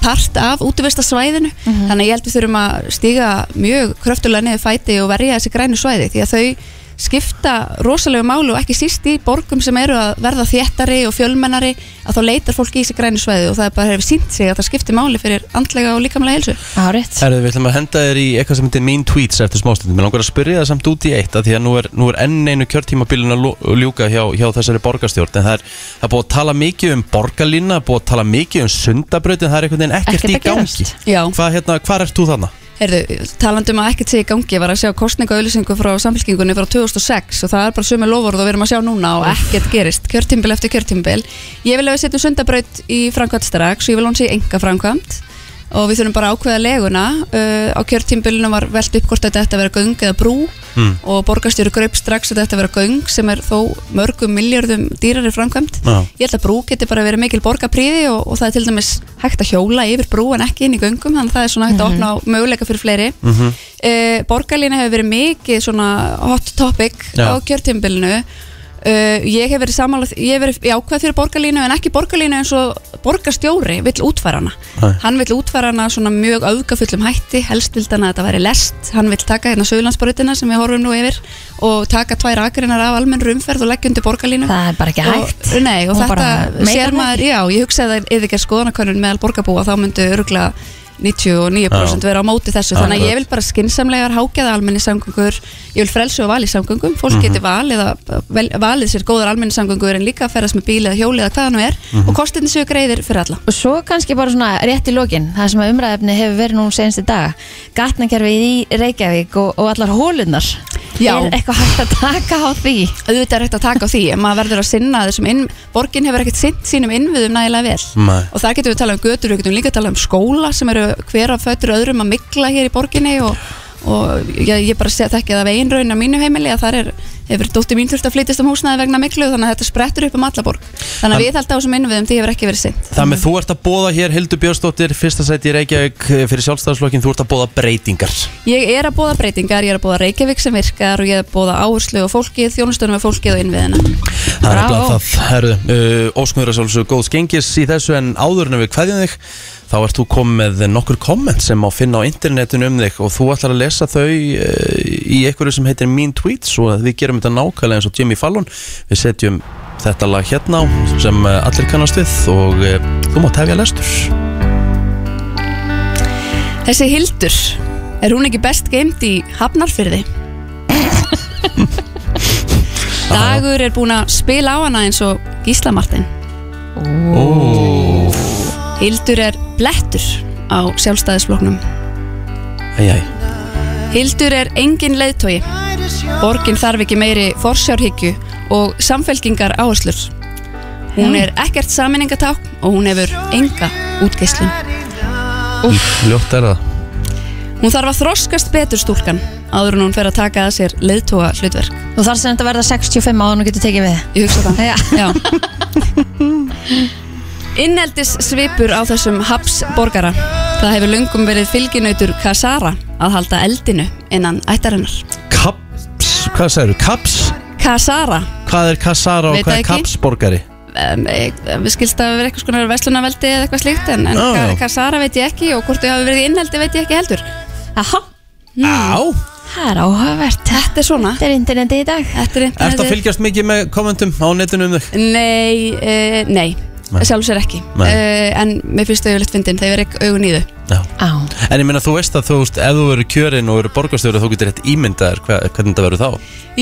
S11: part af útivistarsvæðinu þannig að ég held við þurfum að stíga mjög kröftulega niður fæti og verja þessi grænu svæði því að þau skipta rosalegu málu og ekki síst í borgum sem eru að verða þéttari og fjölmennari að þá leitar fólk í þessi grænu svæði og það er bara hefur sínt sig að það skiptir máli fyrir andlega og líkamlega heilsu
S3: Árétt
S1: Herðu, við ætlum að henda þér í eitthvað sem heitir Mean Tweets eftir smástundum. Mér langar að spyrja það samt út í eitt að því að nú er, nú er enn einu kjörtímabilin að lo- ljúka hjá, hjá þessari borgarstjórn en það er, það er búið að tala mikið um borgarlína, búið að tala mikið um sundabraut en það er einhvern veginn ekkert
S11: Ekkert
S1: í
S11: að
S1: gangi.
S11: gerast. Já.
S1: Hvað hérna, hvar ert þú þarna?
S11: Heyrðu, talandi um að ekkert sé í gangi, ég var að sjá kostningaauðlýsingu frá samfélkingunni frá 2006 og það er bara sömu lofurð og við erum að sjá núna og ekkert gerist, kjörtimbil eftir kjörtimbil. Ég vil að við setjum sundabraut í framkvæmt strax og ég vil að hún sé enga framkvæmt og við þurfum bara að ákveða leguna. Uh, á kjörtimbilinu var velt upp hvort þetta ætti að vera göng eða brú
S1: Hmm.
S13: Mm.
S11: og borgarstjóri gröp strax að þetta vera göng sem er þó mörgum miljardum dýrari framkvæmt.
S13: Já.
S11: Ég held að brú geti bara verið mikil borgarpríði og, og það er til dæmis hægt að hjóla yfir brú en ekki inn í göngum þannig að það er svona hægt að opna á möguleika fyrir fleiri. Mm
S13: Mhm.
S11: uh, borgarlína hefur verið mikið svona hot topic
S13: Já.
S11: á kjörtímbilinu. Uh, ég hef verið samanlega, ég hef verið jákvæð fyrir borgarlínu en ekki borgarlínu eins og borgarstjóri vill útfæra hana.
S13: Nei.
S11: Hann vill útfæra hana svona mjög öfgafullum hætti, helst vild hann að þetta væri lest, hann vill taka hérna söðlandsbrautina sem við horfum nú yfir og taka tvær akreinar af almenn rumferð og leggja undir borgarlínu.
S3: Það er bara ekki hægt.
S11: Og, nei, og
S3: Hún bara
S11: þetta
S3: meitar
S11: sér
S3: það.
S11: maður, já, ég hugsaði að eða ekki er skoðanakönnun meðal borgarbúa þá myndu öruglega 99%
S13: Já.
S11: vera á móti þessu þannig að
S13: Akkurat.
S11: ég vil bara skinsamlegar hágæða almenni samgöngur ég vil frelsu og vali samgöngum fólk
S13: Mhm.
S11: getur valið, að- vel, valið sér góðar almenni samgöngur en líka að ferast með bíli eða hjóli eða hvað það nú er
S13: Mhm.
S11: og kostinni séu greiðir fyrir alla
S3: Og svo kannski bara svona rétt í lokin, það sem að umræðefni hefur verið nú senstu daga, gatnakerfið í Reykjavík og, og allar hólunar.
S11: Já.
S3: Er eitthvað hægt að taka á því?
S11: auðvitað er hægt að taka á því en maður verður að sinna þessum inn, borgin hefur ekkert sinnt sínum innviðum nægilega vel
S13: Nei.
S11: og þar getum við talað um götur, við getum líka talað um skóla sem eru hver af fötur öðrum að mikla hér í borginni og, og ég, ég bara sé- þekki það af einn raun á mínu heimili að þar er, hefur dóttir mín þurft að flytast um húsnaði vegna miklu þannig að þetta sprettur upp um alla borg þannig að
S1: En-
S11: við held á þessum innviðum því hefur ekki verið sinnt
S1: Það með þú ert að bóða hér Hildur Björnsdóttir, fyrsta sæti í Reykjavík eh, fyrir sjálfstæðarslokkin, þú ert að bóða breytingar.
S11: Ég er að bóða breytingar, ég er að bóða Reykjavík sem virkar og ég er að bóða áherslu og fólkið, þjónustunum og fólkið og innviðina.
S1: Það er
S11: Bravo.
S1: alveg það, herðu, uh, óskunður að sjálfsög góðs gengis í þessu en áður en við kveðjum þig þá ert þú komið með nokkur komment sem má finna á internetinu um þig og þú ætlar að lesa þau uh, í einhverju sem heitir Mean Tweets og við gerum þetta nákvæmlega eins og Jimmy Fallon við setjum þetta lag hérna á sem uh, allir kannast við og uh, þú mátt hefja lestur
S11: Þessi Hildur, er hún ekki best geimt í Hafnarfyrði? Dagur er búinn að spila á hana eins og Gísla Martin.
S1: Ó,
S11: Hildur er blettur á sjálfstæðisfloknum.
S1: æj, æj
S11: Hildur er engin leiðtogi. Borgin þarf ekki meiri forsjárhyggju og samfelgingar áherslur. Hún er ekkert saminningaták og hún hefur enga útgeislun.
S1: Ljótt er það
S11: Hún þarf að þroskast betur stúlkan áður en hún fer að taka að sér leiðtoga hlutverk.
S3: Þú þarf sem þetta verða 65 áður og getur tekið við.
S11: Ég hugsa það.
S3: Já.
S11: <laughs> Inneldis svipur á þessum hapsborgara. Það hefur löngum verið fylginautur Kassara að halda eldinu innan ættarinnar.
S1: Kaps, hvað sagður, Kaps?
S11: Kassara,
S1: Hvað er Kassara og
S11: Veit
S1: hvað
S11: það
S1: er
S11: ekki.
S1: Kapsborgari?
S11: um, e- við skilst að við erum eitthvað skonar veslunaveldi eða eitthvað slíkt en, en
S1: Já.
S11: Ka- Kassara veit ég ekki og hvort þau hafi verið í inneldi veit ég ekki heldur.
S3: Aha.
S1: Á
S3: Það er áhugavert.
S11: Þetta er svona.
S3: Þetta er interneti í dag.
S11: Þetta er
S1: Ertu
S11: interneti.
S1: að fylgjast mikið með kommentum á netinu um þig?
S11: Nei, e, nei,
S1: Nei.
S11: nei. sjálfsögur ekki
S1: Nei.
S11: e, En mér finnst þau yfirleitt fyndin, þeir verið augun í þau
S1: Já
S3: Á.
S1: En ég meina þú veist að þú veist ef þú verður kjörinn og verður borgarstjóri þú getur rétt ímyndaður hva, hvernig þetta verður þá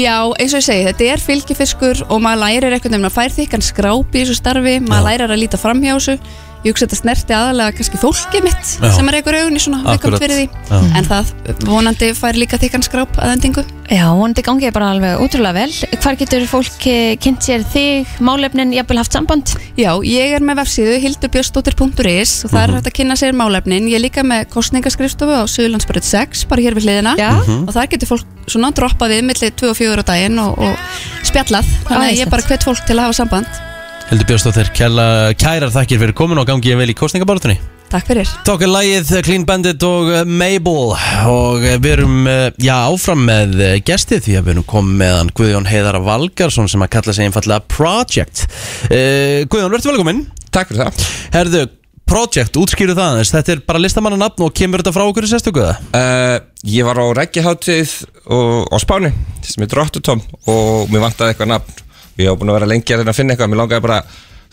S11: Já, eins og ég segi, þetta er fylgifiskur og maður lærir eitthvað nefn að fær þykkan skrápi í þessu starfi, maður lærir að líta framhjásu
S13: ég hugsa að þetta snerti aðalega kannski fólkið mitt
S1: Já.
S13: sem er eitthvað augunni svona
S1: Akkurat.
S13: viðkvæmt fyrir því
S1: Já.
S13: en það vonandi fær líka þykkan skráp að endingu
S3: Já, vonandi gangið bara alveg útrúlega vel Hvar getur fólk eh, kynnt sér þig, málefnin, jafnvel haft samband?
S13: Já, ég er með vefsíðu hildurbjörnsdóttir.is og
S1: Mhm.
S13: það er hægt að kynna sér málefnin ég er líka með kostningaskrifstofu á Suðurlandsbröð 6 bara hér við hliðina
S5: Mhm.
S13: og þar getur fólk svona droppað við millir 2 og 4 á daginn og, og spjallað þannig að ég
S3: Æðislegt.
S13: bara hvet fólk til að hafa samband
S1: Hildur Björnsdóttir, kæla- kærar þakkir fyrir komin og gangi ég vel í kostningabarátunni
S13: Takk fyrir
S1: Tók er lagið Clean Bandit og eh, Mabel og eh, við erum eh, já, áfram með eh, gesti því að við erum komið meðan Guðjón Heiðar Valgarsson sem að kalla sig einfallega Project uh, Guðjón, verður velkominn Takk fyrir það Herðu, Project, útskýru það aðeins, þetta er bara listamanna nafn og kemur þetta frá okkur í sérstökuða?
S14: Uh, ég var á reggiháttið á Spáni sem er Drottutom og mér vantaði eitthvað nafn og ég var búin að vera lengi að reyna að finna eitthvað mér langaði bara,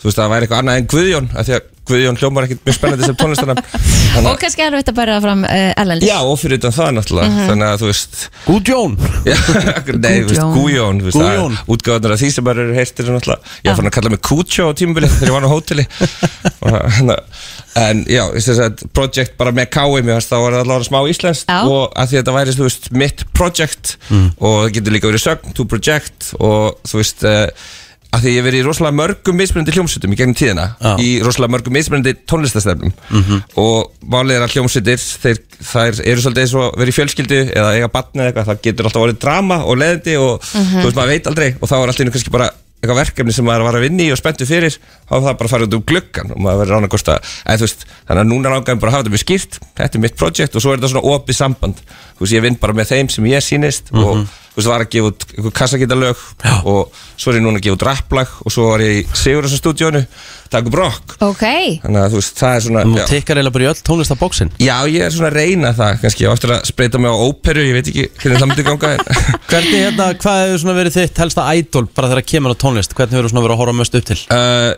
S14: þú veist að það væri eitthvað annað en Guðjón af því að Guðjón hljómar ekkit mjög spennandi sem tónlistarnafn
S3: <laughs> Og kannski erfitt að bæra það fram uh, erlendis
S14: Já, og fyrir utan það náttúrulega
S3: Mhm.
S14: Þannig að þú veist
S1: Gúdjón
S14: Nei, þú veist, Gújón þú veist,
S1: Gújón.
S14: að Útgáðunar af því sem bara eru heyrtir um náttúrulega Ég var fann að kalla mig Kútjó á tímubili Þegar ég var á hóteli Og þannig að- En já, þess að project bara með KM Mér fannst þá var það allavega smá íslenskt Og að því að þetta væri, þú veist, mitt project Og það getur líka verið sögn, to project Og þú veist eh, að því ég hef verið í rosalega mörgum mismunandi hljómsutum í gegnum tíðina, í rosalega mörgum mismunandi tónlistastefnum og málið er að hljómsveitir þeir, þær eru svolítið eins og verið í fjölskyldu eða eiga batni eða eitthvað, það getur alltaf orðið drama og leðandi og
S15: Mhm.
S14: þú veist maður veit aldrei og þá er alltaf einu kannski bara eitthvað verkefni sem maður var að vinna í og spenntu fyrir þá er það bara að fara út um gluggan og maður verður rána kosta en þú veist, þannig að núna langaðum bara að hafa þetta mjög skýrt þetta er mitt projekt og svo er þetta svona opið samband þú veist, ég vinn bara með þeim sem ég sýnist og þú veist, var að gefa út einhver kassakítalög og svo er ég núna að gefa út rapplag og svo var ég í Sigurðarsson stúdíónu takk brokk
S3: Ok,
S14: þannig að þú veist, það er svona
S1: Nú tikkar eiginlega bara í öll tónlistabóksin
S14: Já, ég er svona að reyna það kannski, ég á eftir að spreita mig á óperu ég veit ekki hvernig það myndi ganga en
S1: Hvernig hérna, hvað hefur svona verið þitt helsta idol bara þegar kemur á tónlist? Hvernig hefur svona verið að horfa mest upp til?
S14: Uh,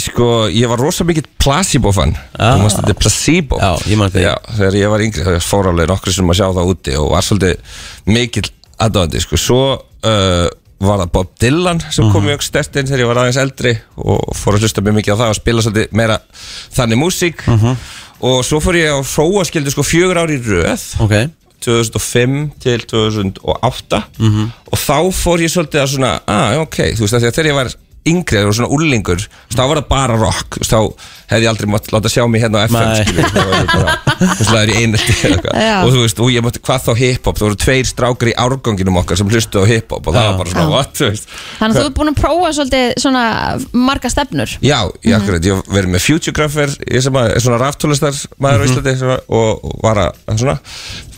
S14: sko, ég var rosa mikill placebo-fan ah. Þú mást þetta er placebo Já, ég maður þetta Já, þegar ég var yngri, þegar fór alveg nokkru sem að sjá það úti og var svolítið mikill aðdóðandi, sko Svo uh, var það Bob Dylan sem kom mjög stert inn þegar ég var aðeins eldri og fór að hlusta mjög mikið á það og spila svolítið meira þannig músík og svo fór ég á hróaskildu sko fjögur ár í röð
S1: okay.
S14: 2005 til 2008 og þá fór ég svolítið að svona að, ok, þú veist, af því að þegar ég var yngri og svona úrlingur, þá var það bara rock þú veist, þá hefði ég aldrei mátt láta sjá mig hérna á FM,
S1: Nei.
S14: skilur, þá var ég bara þú veist, það er í einelti eða
S1: Já.
S14: eitthvað og þú veist, og ég mátti, hvað þá hip-hop, það voru tveir strákar í árganginum okkar sem hlustuðu á hip-hop og það
S1: Já.
S14: var bara svona,
S3: Já.
S14: what, þú veist
S3: Þannig að þú ert búin að prófa svolítið svona marga stefnur
S14: Já, ég, akkurat, ég hef verið með Futuregrapher ég sem að, er svona raftólistar
S1: Mhm.
S14: maður á Íslandi sem að, og, og var að að svona,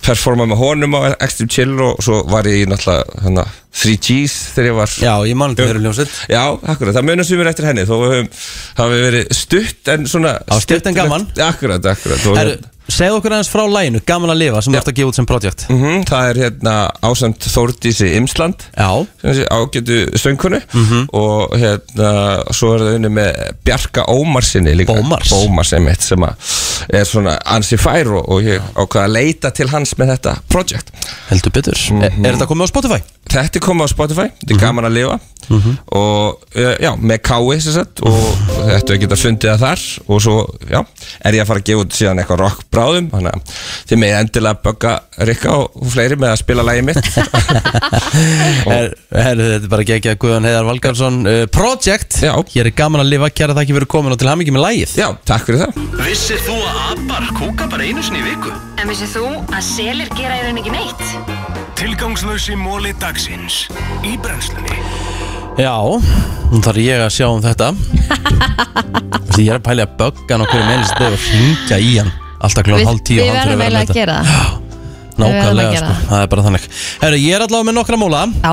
S14: performa með honum á Extreme Chill og svo var ég í náttúrulega hana, 3Gs þegar ég var
S1: Já, ég mann þetta verið ljómsveit
S14: Já, akkurat, það munum sem við eftir henni þó við höfum, það hefur verið stutt en svona
S1: Já, stutt en gaman.
S14: Akkurat, akkurat og-
S1: Herru, segð okkur aðeins frá læginu Gaman að lifa sem þú ert að gefa út sem projekt
S14: mm Það er hérna ásamt Þórdísi Imsland
S1: Já
S14: Ágætu söngkunu Og hérna Svo er það unni með Bjarka Ómarsinni líka Bómars Bómars einmitt sem að Er svona ansi fær og, og ég ákvað að leita til hans með þetta project
S1: Heldur betur er, er þetta komið á Spotify?
S14: Þetta er komið á Spotify Þetta er gaman að lifa og eh, já, með kái sem sagt og þetta er ekki að fundið það þar og svo, já, er ég að fara að gefa út síðan eitthvað rock bráðum þannig að þið með endilega bögga Rikka og fleiri með að spila lægi mitt
S1: Her, herru, þetta er bara gegja Guðan Heiðar Valgarsson uh, Project Já Hér er gaman að lifa, kæra þakki fyrir komin og til hamingi með lægið
S14: Já, takk fyrir það
S2: Vissir þú að abar kúka bara einu sinni í viku?
S16: En vissið þú að selir gera í rauninni ekki neitt?
S2: Tilgangslösi móli dagsins í brennslunni
S1: Já, nú þarf ég að sjá um <laughs> þetta Því ég er að pæli að bögga hann okkur um einnig steg og hringja í hann Alltaf klón
S3: Við-
S1: hálf tíu
S3: við verðum eiginlega að gera það. Við verðum að
S1: Nákvæmlega,
S3: gera
S1: sko,
S3: það.
S1: það er bara þannig Herru, ég er allavega með nokkra múla
S3: Já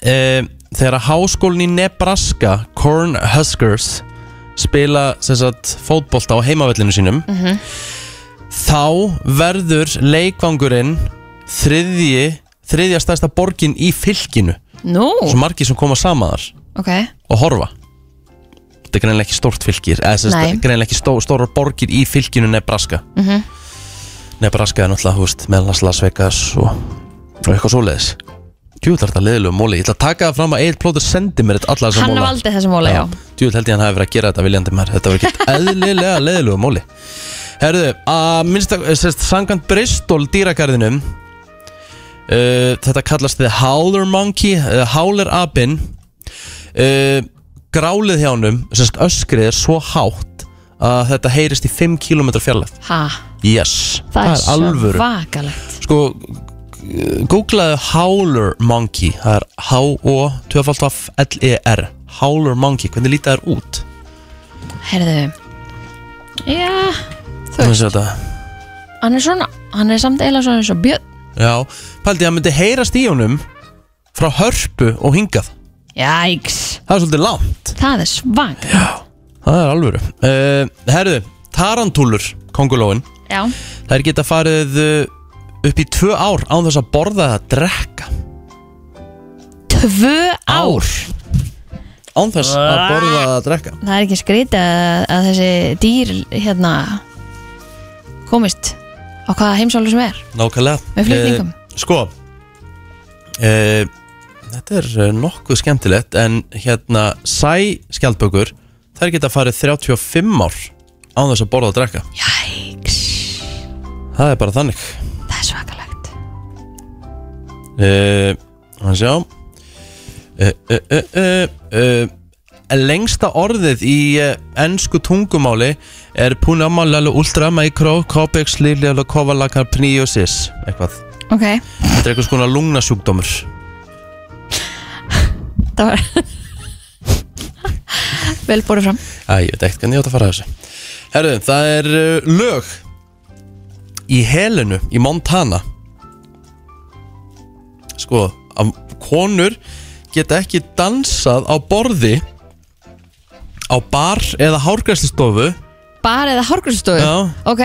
S1: Þegar að háskólin í Nebraska, Cornhuskers spila, sem sagt, fótbolta á heimavellinu sínum
S5: Mhm.
S1: þá verður leikvangurinn þriðji, þriðja stærsta borgin í fylkinu
S3: Nú,
S1: Svo margir sem koma saman þar
S3: ok
S1: og horfa Þetta er greinilega ekki stórt fylgir eða þess
S3: Nei.
S1: að greinilega ekki stó, stórar borgir í fylginu Nebraska
S3: Mhm.
S1: Nebraska er náttúrulega, hú veist, meðan Las Vegas og, og eitthvað svoleiðis Djúvill er þetta leðilegu móli Ég ætla að taka það fram að Egil Plóter sendi mér þetta alla þessa
S3: Hann
S1: móla
S3: valdi þessa móla, já.
S1: Djúvill held ég að hann hafi verið að gera þetta viljandi mér Þetta var
S3: <laughs>
S1: ekki eðlilega leðilegu móli Herðu, að eh, minnst að sérst, Sangant Bristol dýragarðinum uh, Þetta kallast The Howler Monkey uh, Howler Abin uh, Grálið hjá honum Sérst öskrið er svo hátt Að þetta heyrist í 5 km fjarlæð
S3: Ha,
S1: Yes,
S3: það, er svo
S1: alvöru
S3: vakalegt
S1: Sko, g- googlaðu Howler Monkey Það er H-O-L-E-R E Howler Monkey, hvernig líta þær út?
S3: Herðu Já, þú
S1: Þú
S3: veist
S1: veist þetta
S3: Hann er svona, hann er samt eiginlega svona eins og björn
S1: Já, pældi að myndi heyrast í honum Frá hörpu og hingað
S3: Jæks
S1: Það er svolítið langt
S3: Það er svakalegt
S1: Það er alvöru uh, Herðu, tarantúlur, kongulóin
S3: Já,
S1: Þær geta farið uh, upp í tvö ár án þess að borða eða drekka
S3: tvö
S1: Ár? Án þess að borða eða drekka
S3: Það er ekki skrítið að, að þessi dýr hérna komist á hvaða heimsálu sem er
S1: Nákvæmlega
S3: Með flutningum.
S1: Eh, Sko eh, Þetta er eh, nokkuð skemmtilegt En hérna sæ skjaldbökur Þær geta farið 35 ár Án þess að borða og drekka
S3: Jæks
S1: Það er bara þannig
S3: Það er svakalegt
S1: eh, Hann sjá eh, eh, eh, eh, eh, Lengsta orðið í eh, ennsku tungumáli Er punamalalu ultra micro Copex liljala kovalakar pniosis Eitthvað
S3: Ok,
S1: Þetta er eitthvað skona lungnasjúkdómur
S3: það var vel búið fram
S1: Æ, ég veit ekkert hvernig ég átt að fara að þessu Herðu, það er uh, lög Í helinu, í Montana Sko, að konur geta ekki dansað á borði Á bar eða hárgræslistofu
S3: Bara eða hárgrunnstofu
S1: Já.
S3: Ok,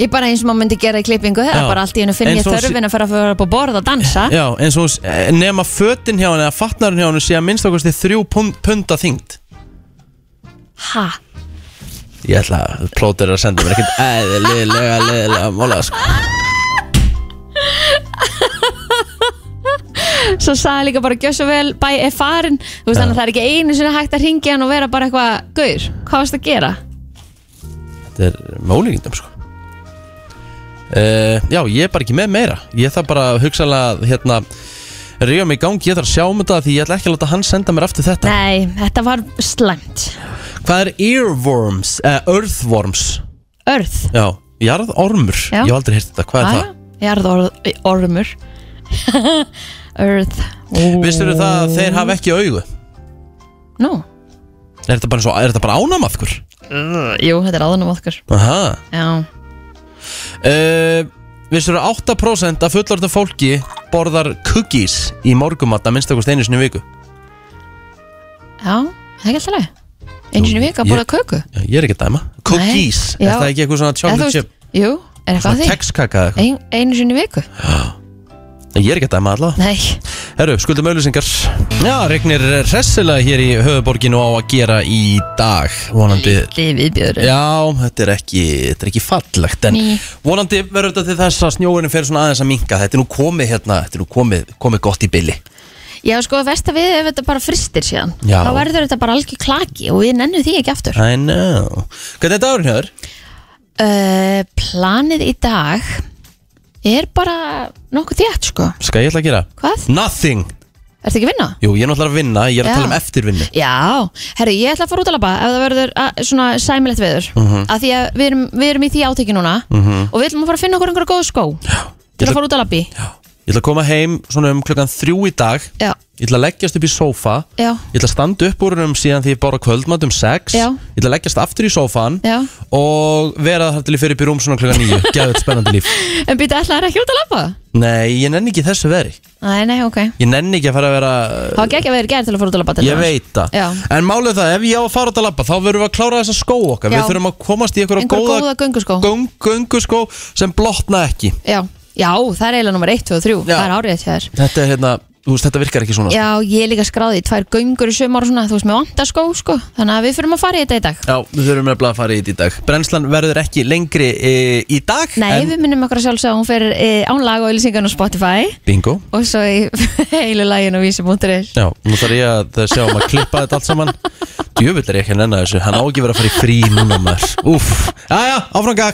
S3: ég bara eins og maður myndi gera í klippingu Það
S1: Já.
S3: er bara allt í hennu finn
S1: En
S3: ég
S1: svo sé-
S3: þörfin að fara að fara upp á borð og dansa
S1: Já, eins og eh, nema fötin hjá hann eða fatnarinn hjá hann sé að minnst okkur þrjú pund, punda þyngd
S3: Ha,
S1: Ég ætla að plótur er að senda mér ekkert <laughs> eðlilega, leðilega mála sko.
S3: svo sagði líka bara gjössu vel bæ er farin Þú veist þannig að það er ekki einu sinni hægt að ringja hann og vera bara eitthvað Gaur, hvað varst að gera?
S1: Þetta er með ólíkindum sko uh, Já, ég er bara ekki með meira Ég þarf bara hugsaðlega að hérna Ríða mig í gang, ég þarf að sjá um þetta Því ég ætla ekki að láta hann senda mér aftur þetta
S3: Nei, þetta var slæmt
S1: Hvað er earworms, eða earthworms
S3: Örð
S1: Já, jarðormur
S3: Já.
S1: Ég hef aldrei heyrt þetta, hvað er það?
S3: Jarðormur <laughs> Earth
S1: Vissirðu það að þeir hafa ekki augu?
S3: Nú,
S1: Er þetta bara, eins og- er þetta bara ánamaðkur?
S3: uh, jú, þetta er aðanum okkur
S1: Aha
S3: Já,
S1: uh, Vissirðu 8% af fullorðna fólki Borðar cookies í morgumat Að minnstakost einu sinni í viku
S3: já, það er ekki alltaf leið Einu sinni í viku að borða
S1: ég-
S3: köku
S1: Já, Ég er ekki að dæma Cookies,
S3: Nei,
S1: er
S3: já.
S1: það ekki eitthvað svona
S3: Eða
S1: chocolate
S3: þú
S1: chip?
S3: veist- Jú, er eitthvað að
S1: Svona
S3: því
S1: kekskaka eða eitthvað
S3: Ein, Einu sinni í viku
S1: Nei, Ég er ekki að dæma allavega
S3: Nei,
S1: Herru, skuldum auðlýsingar Já, regnir hressilega hér í höfuborginu á að gera í dag Vonandi
S3: Lítið viðbjöður
S1: Já, þetta er ekki, þetta er ekki fallegt En
S3: Ný.
S1: vonandi verður þetta til þess að snjóinu fer svona aðeins að minka Þetta er nú komið hérna, þetta er nú komið, komið gott í billi
S3: já sko, versta við ef þetta bara fristir síðan
S1: Já.
S3: Þá verður þetta bara algjör klaki og við nennum því ekki aftur
S1: I know Hvernig er dagurinn hér?
S3: uh, Planið í dag er bara nokkuð þétt sko
S1: Skal ég ætla að gera?
S3: Hvað?
S1: Nothing
S3: Ertu ekki að vinna?
S1: Jú, ég er náttúrulega að vinna, ég er að
S3: Já.
S1: tala um eftirvinni
S3: Já, herru, ég ætla að fara út að labba ef það verður að, svona sæmilegt veður
S1: Mhm.
S3: af því að við erum, við erum í því áteki núna
S1: Mhm.
S3: og við ætlum að fara að finna okkur einhverja góð skó Já. til að fara út að labbi
S1: Ég ætla að koma heim svona um klukkan þrjú í dag
S3: Já.
S1: Ég ætla að leggjast upp í sófa
S3: Já.
S1: Ég ætla að standa upp úr hennum síðan því ég bóra kvöldmatt um sex
S3: Já.
S1: Ég ætla að leggjast aftur í sófan
S3: Já.
S1: Og vera þar til ég fyrir upp í rúm svona klukkan nýju
S3: <laughs>
S1: Gæðið spennandi líf
S3: En býta ætla það ekki út að labba?
S1: Nei, ég nenni ekki þessu veri
S3: Nei, nei, ok
S1: Ég nenni ekki að fara að vera
S3: Það var ekki að veður gerð til að fara út að labba til
S1: Ég
S3: dæmis.
S1: veit það
S3: Já.
S1: En málið er það, ef ég á að fara út að labba Þá verðum við að klára þessa skó okkar
S3: Já.
S1: Við þurfum að komast í einhverja
S3: Einhverja
S1: góða,
S3: góða gönguskó.
S1: göng, gönguskó Sem blotna ekki
S3: Já. Já, það er eiginlega nummer 1, 2 og 3 Það er árið hjá þér
S1: Þetta, er, hérna, þú veist, þetta virkar ekki svona sko.
S3: Já, ég er líka skráði í tvær göngur í sömur og svona, þú veist, með vanda skó, sko Þannig að við fyrir að fara í þetta í dag
S1: Já, við þurfum nefnilega að fara í þetta í dag Brennslan verður ekki lengri e, í dag
S3: Nei,
S1: en,
S3: eh, við minnum okkur að sjálfsögum hún fyrir e, án laga og ylýsingan á Spotify
S1: Bingo
S3: og svo í <laughs> heilu lægin á vísi.is
S1: Já, nú þarf ég að sjá um að klippa þetta allt saman Djöfull er ég ekki að nenna þessu Hann á ekki verið að fara í frí núna maður Úff, aðja, áfranga